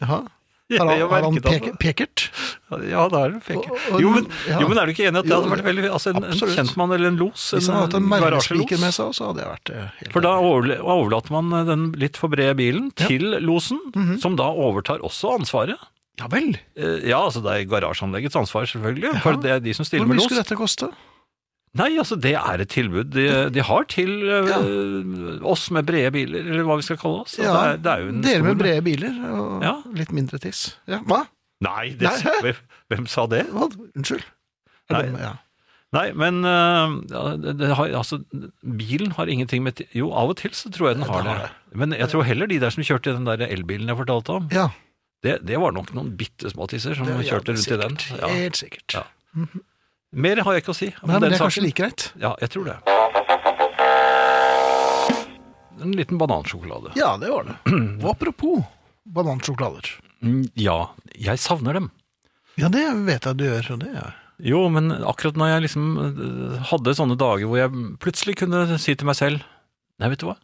B: Jaha.
C: Jeg
B: Har han,
C: merket
B: har han
C: at-
B: peke, pekert?
C: Ja, da er det fake.
B: Og- og-
C: Jo, men,
B: ja.
C: jo, men er du ikke enig at det
B: Jo,
C: hadde vært veldig Altså en, en
B: absolutt.
C: kjentmann eller en los?
B: Hvis han hadde hatt en merrespiker
C: garasjelos?
B: med seg, så hadde jeg vært eh, helt
C: For da overle- overlater man eh, den litt for brede bilen til losen,
B: Mhm.
C: som da overtar også ansvaret.
B: Ja vel.
C: Eh, Ja, altså det er garasjeanleggets ansvar, selvfølgelig, for
B: Ja.
C: det er de som stiller
B: Hvor
C: med
B: mye
C: los.
B: skulle dette koste?
C: Nei, altså det er et tilbud de, de har til eh, oss med brede biler, eller hva vi skal kalle oss. At
B: Ja,
C: det er, det er jo en
B: Dere
C: stor-
B: med brede biler og
C: Ja.
B: litt mindre tiss. Ja, hva?
C: Nei, det,
B: Nei, hæ?
C: hvem- hvem sa det?
B: hva? Unnskyld. Er det-
C: Nei.
B: Ja.
C: Nei, men eh, ja, det, det har, altså, bilen har ingenting med ti- Jo, av og til så tror jeg den har
B: har
C: det. Men jeg tror heller de der som kjørte i den der elbilen jeg fortalte om,
B: ja.
C: det, det var nok noen bitte små tisser som
B: Det- ja,
C: kjørte rundt i den.
B: sikkert.
C: Ja.
B: Helt sikkert.
C: Ja. Mer har jeg ikke å si om
B: Nei, men
C: den
B: det er kanskje
C: saken.
B: like greit.
C: Ja, jeg tror det. En liten banansjokolade.
B: Ja, det var det. Og apropos banansjokolader.
C: Mm, Ja, jeg savner dem.
B: Ja, det vet jeg du gjør. og Det er.
C: Jo, men akkurat når jeg liksom øh, hadde sånne dager hvor jeg plutselig kunne si til meg selv Nei, vet du hva?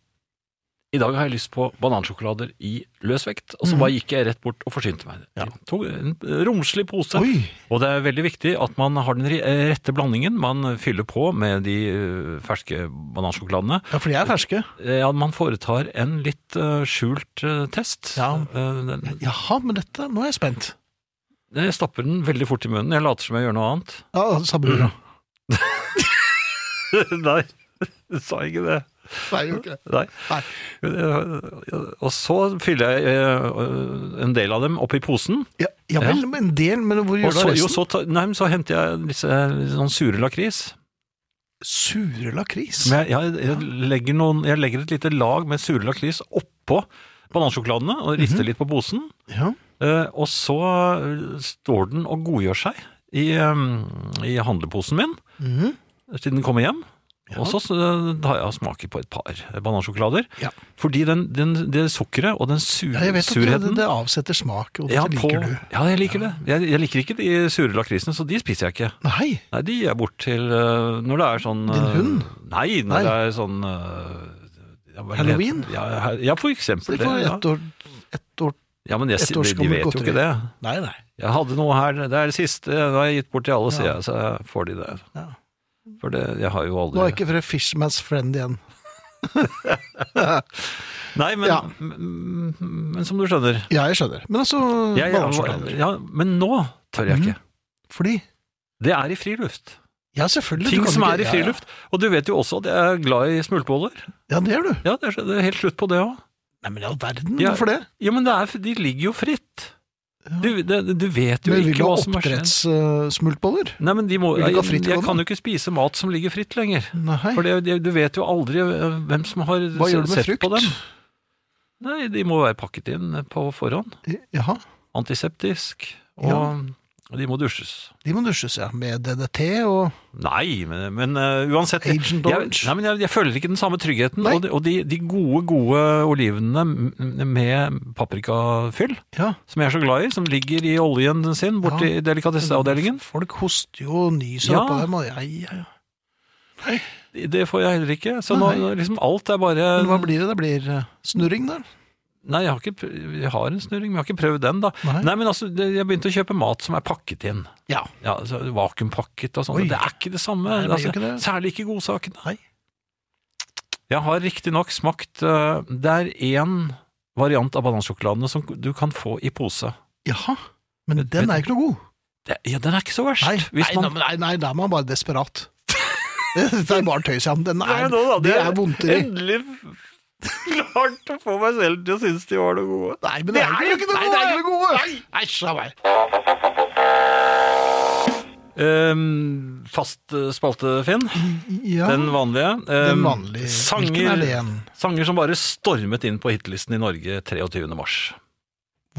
C: I dag har jeg lyst på banansjokolader i løs vekt. Og så bare gikk jeg rett bort og forsynte meg.
B: Mhm. Ja.
C: Tok en romslig pose.
B: Oi!
C: Og det er veldig viktig at man har den ri- eh, rette blandingen. Man fyller på med de øh, ferske banansjokoladene.
B: Ja, for de er ferske.
C: Eh, Ja, man foretar en litt øh, skjult øh, test.
B: Ja.
C: Eh, den-
B: Jaha, men dette Nå er jeg spent.
C: Jeg stapper den veldig fort i munnen. Jeg later som jeg gjør noe annet.
B: Ja, altså, Samme
C: Mm.
B: ura.
C: Nei, du sa ikke det.
B: Nei, jo ikke.
C: Nei.
B: Nei.
C: Og så fyller jeg eh, en del av dem opp i posen.
B: Ja, ja vel, men en del, men hvor
C: Og
B: gjør du
C: så,
B: av
C: jo,
B: resten?
C: så, ta- nei, men så henter jeg disse litt sånn sure lakris.
B: Sure lakris.
C: Men jeg, jeg, jeg, legger noen, jeg legger et lite lag med sure lakris oppå banansjokoladene og
B: Mhm.
C: rister litt på posen.
B: Ja.
C: Eh, og så eh, står den og godgjør seg i, eh, i handleposen min
B: Mhm.
C: til den kommer hjem.
B: Ja.
C: Og så eh, tar jeg og smaker på et par banansjokolader.
B: Ja.
C: Fordi den, den, det sukkeret og den su
B: ja, jeg vet at det,
C: surheten
B: det avsetter smak, og det
C: ja, på,
B: liker du.
C: ja, jeg liker det. Jeg, jeg liker ikke de sure lakrisene, så de spiser jeg ikke.
B: Nei,
C: Nei, de gir jeg bort til eh, når det er sånn
B: Din
C: eh,
B: hund?
C: Nei, når
B: Nei.
C: det er sånn eh, ja, hva er det
B: Halloween?
C: heter? Ja, he- ja, for
B: så
C: eksempel.
B: det får
C: det, ja.
B: ett år, ett år
C: ja, men jeg,
B: ett års
C: de, de
B: gammel
C: vet jo
B: godteri.
C: ikke det.
B: Nei, nei.
C: Jeg hadde noe her, det er det siste, det har jeg gitt bort til alle, sier jeg, så får de det.
B: Ja.
C: For det, jeg har jo
B: Nå
C: aldri
B: er ikke fra Fishman's Friend igjen.
C: Nei, men,
B: Ja.
C: m- m- men som du skjønner
B: Ja, jeg skjønner. Men altså,
C: jeg,
B: banansjokolader.
C: ja, Men nå tør jeg ikke.
B: Mm. Fordi
C: Det er i friluft.
B: Ja, selvfølgelig. du
C: Ting
B: kan
C: som
B: ikke-
C: er i
B: Ja,
C: friluft. Og du vet jo også at jeg er glad i smultboller.
B: Ja, ja det gjør du.
C: Ja, det er, det er helt slutt på det òg.
B: Nei, men i all verden,
C: Ja.
B: hvorfor det?
C: Ja, men det er, de ligger jo fritt. Du, det, du vet jo
B: Men vil
C: ikke
B: du ha
C: hva som har skjedd.
B: oppdrettssmultboller?
C: Nei, men de må,
B: Vil du ikke
C: jeg,
B: ha frittgående?
C: jeg kan jo ikke spise mat som ligger fritt lenger.
B: Nei.
C: For det, det- du vet jo aldri eh, hvem som har
B: Hva gjør du med
C: sett på dem.
B: frukt?
C: Nei, de må være pakket inn på forhånd.
B: Jaha,
C: Antiseptisk. Og de må dusjes.
B: de må dusjes, ja. Med DDT og
C: Nei, men, men eh, uansett
B: Agent
C: jeg,
B: Orange.
C: nei, men jeg, jeg føler ikke den samme tryggheten.
B: Nei.
C: Og, de, og de, de gode, gode olivenene m- med paprikafyll,
B: Ja.
C: som jeg er så glad i, som ligger i oljen sin borte
B: Ja.
C: i delikatesseavdelingen,
B: Folk hoster jo og nyser
C: Ja.
B: oppå dem, og ja, ja, ja.
C: det får jeg heller ikke. Så nå,
B: Nei.
C: liksom alt er bare
B: Men hva blir det? Det blir eh, snurring, da?
C: Nei, jeg har, ikke, pr- jeg har en snurring, men jeg har ikke prøvd den, da.
B: Nei.
C: Nei, men altså, det, jeg begynte å kjøpe mat som er pakket inn.
B: Ja.
C: Ja, altså, Vakuumpakket og sånt.
B: Oi.
C: og Det er ikke det samme.
B: Nei, det blir
C: altså,
B: jo ikke det.
C: Særlig ikke godsakene.
B: Nei.
C: Jeg har riktignok smakt eh, Det er én variant av banansjokoladene som du kan få i pose.
B: Jaha. Men
C: Vet-
B: den
C: vet-
B: er ikke noe god.
C: Det, ja, den er ikke så verst.
B: Nei,
C: Hvis
B: nei,
C: man-
B: nei, nei, nei, da er man bare desperat. det er bare tøys, ja. Den
C: Nei,
B: er,
C: nå da,
B: det er vondteri.
C: Endelig klart å få meg selv til å synes de var noe gode.
B: Nei, men det, er jo ikke noe
C: Nei, det er ikke
B: gode! Nei, Æsj a meg.
C: Ehm, fast eh, spalte, Finn.
B: Ja,
C: Den vanlige.
B: den
C: Ehm,
B: vanlige.
C: Sanger,
B: Hvilken er det igjen?
C: sanger som bare stormet inn på hitlisten i Norge 23. mars.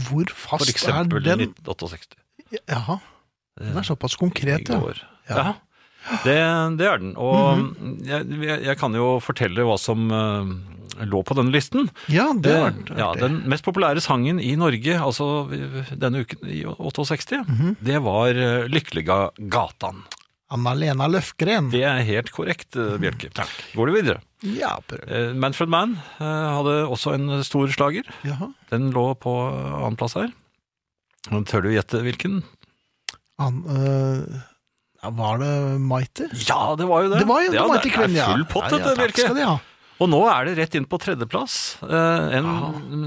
B: Hvor
C: For
B: fast er
C: eksempel
B: den?
C: 1968.
B: Jaha, den
C: Eh,
B: er såpass konkret,
C: Begge
B: ja.
C: år.
B: Ja.
C: Ja. Det, det er den. Og jeg, jeg- jeg kan jo fortelle hva som eh, lå på denne listen.
B: Ja, det var
C: Eh, ja, den mest populære sangen i Norge altså vi- denne uken i 68,
B: Mhm.
C: det var eh, 'Lykkeliga gatan'.
B: Anna-Lena Løfgren.
C: Det er helt korrekt, eh, Bjelke. Går du videre?
B: Ja, prøv.
C: Eh, Manfred Mann eh, hadde også en stor slager.
B: Jaha.
C: Den lå på annenplass her. Men Tør du gjette hvilken?
B: An, øh, ja, var det Mighty?
C: Ja, det var jo det!
B: Det var jo
C: ja,
B: Mighty Kvenn, ja.
C: Det er full pott,
B: Ja, ja,
C: dette,
B: takk
C: Bjelke.
B: skal de ha.
C: Og nå er det rett inn på tredjeplass. eh, en,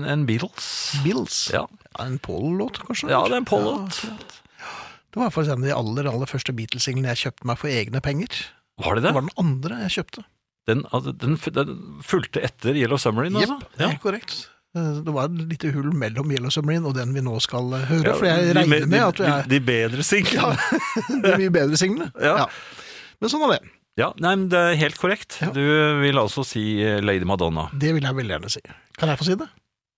B: Ah.
C: en Beatles.
B: Bills. Ja.
C: Ja.
B: en Paul-låt, kanskje?
C: ja, det er en Pollot.
B: Ja, det var faktisk en av de aller, aller første Beatles-singlene jeg kjøpte meg for egne penger.
C: Var det
B: Det
C: det?
B: var den andre jeg kjøpte.
C: Den, altså, den, f- den fulgte etter Yellow Submarine, altså?
B: Jepp, det er korrekt. Eh, Det var et lite hull mellom Yellow Submarine og den vi nå skal eh, høre, for
C: Ja,
B: jeg
C: de-
B: regner med at du
C: de,
B: er
C: de, de bedre singlene.
B: de mye bedre singlene.
C: Ja.
B: Men sånn er det.
C: Ja. nei, men det er helt korrekt.
B: Ja.
C: Du vil altså si eh, Lady Madonna.
B: Det vil jeg veldig gjerne si. Kan jeg få si det?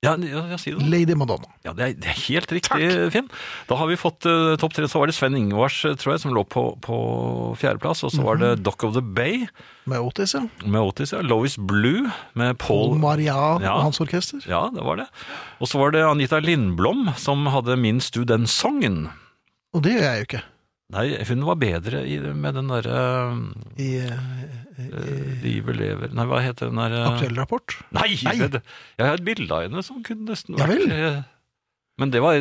C: Ja, ja, ja si det.
B: Lady Madonna.
C: Ja, det, er, det er helt riktig, Finn. Da har vi fått eh, topp tre. Så var det Sven Ingvars, eh, tror jeg, som lå på, på fjerdeplass. Og så var
B: Mhm.
C: det Dock of the Bay
B: Med Otis, ja.
C: med Otis. Ja. Lois Blue med
B: Paul
C: Paul
B: Maria
C: Ja.
B: og hans orkester.
C: Ja, det var det. Og så var det Anita Lindblom som hadde Minst du den sangen?
B: Og det gjør jeg jo ikke.
C: Nei, hun var bedre i, med den derre
B: I eh,
C: øh, Livet lever Nei, hva heter den derre
B: aktuell rapport.
C: Nei!
B: Nei.
C: det- Jeg har et bilde av henne som kunne nesten
B: Ja
C: vært
B: vel.
C: eh, Men det var,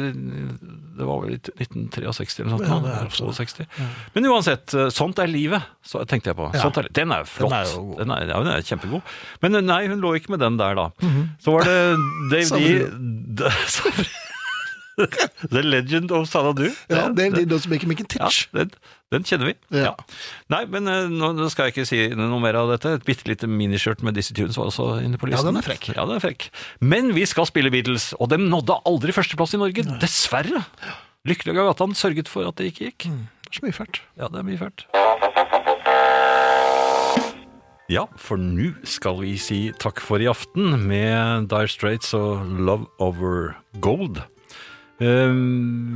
C: det var vel i 1963 eller noe
B: Ja,
C: sånt.
B: det er
C: eller
B: også
C: 62. Men uansett, eh, sånt er livet, så tenkte jeg på.
B: Ja.
C: Sånt er, den er jo flott.
B: Den er jo god.
C: Den er, ja, den er kjempegod. Men eh, nei, hun lå ikke med den der, da.
B: Mhm.
C: Så var det Dave D. D- The Legend of Sanadu.
B: Ja,
C: Det-
B: Dave
C: det-
B: Did Doesn't Make a Make a Titch.
C: ja, den, den kjenner vi.
B: Ja.
C: Ja. Nei, men eh, nå nå skal jeg ikke si noe mer av dette. Et bitte lite miniskjørt med Dizzie Tunes var også inne på
B: Ja,
C: listen.
B: den er frekk.
C: Ja, den er frekk. Men vi skal spille Beatles, og dem nådde aldri førsteplass i Norge. Dessverre. Lykkelig av gatan sørget for at det ikke gikk.
B: Det er så mye fælt.
C: Ja, det er mye fælt. Ja, for nå skal vi si takk for i aften med Dire Straits og Love Over Gold. Eh,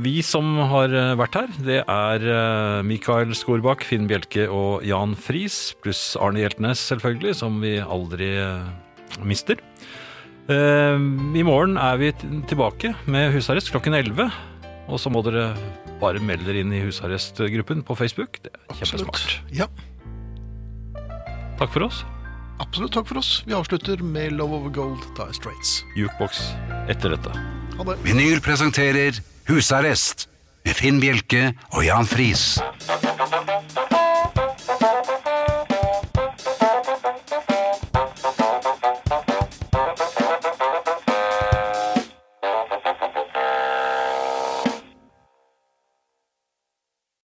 C: Vi som har eh, vært her, det er eh, Mikael Skorbakk, Finn Bjelke og Jan Friis, pluss Arne Hjeltnes selvfølgelig, som vi aldri eh, mister. Eh, I morgen er vi t- tilbake med husarrest klokken 11. Og så må dere bare melde dere inn i husarrestgruppen på Facebook. Det er kjempesmart.
B: Ja,
C: Takk for oss.
B: absolutt. Takk for oss. Vi avslutter med Love Over Gold, Dire Straits.
C: Jukebox etter dette.
B: Ha det.
A: Vinyl presenterer Husarrest med Finn Bjelke og Jan Friis.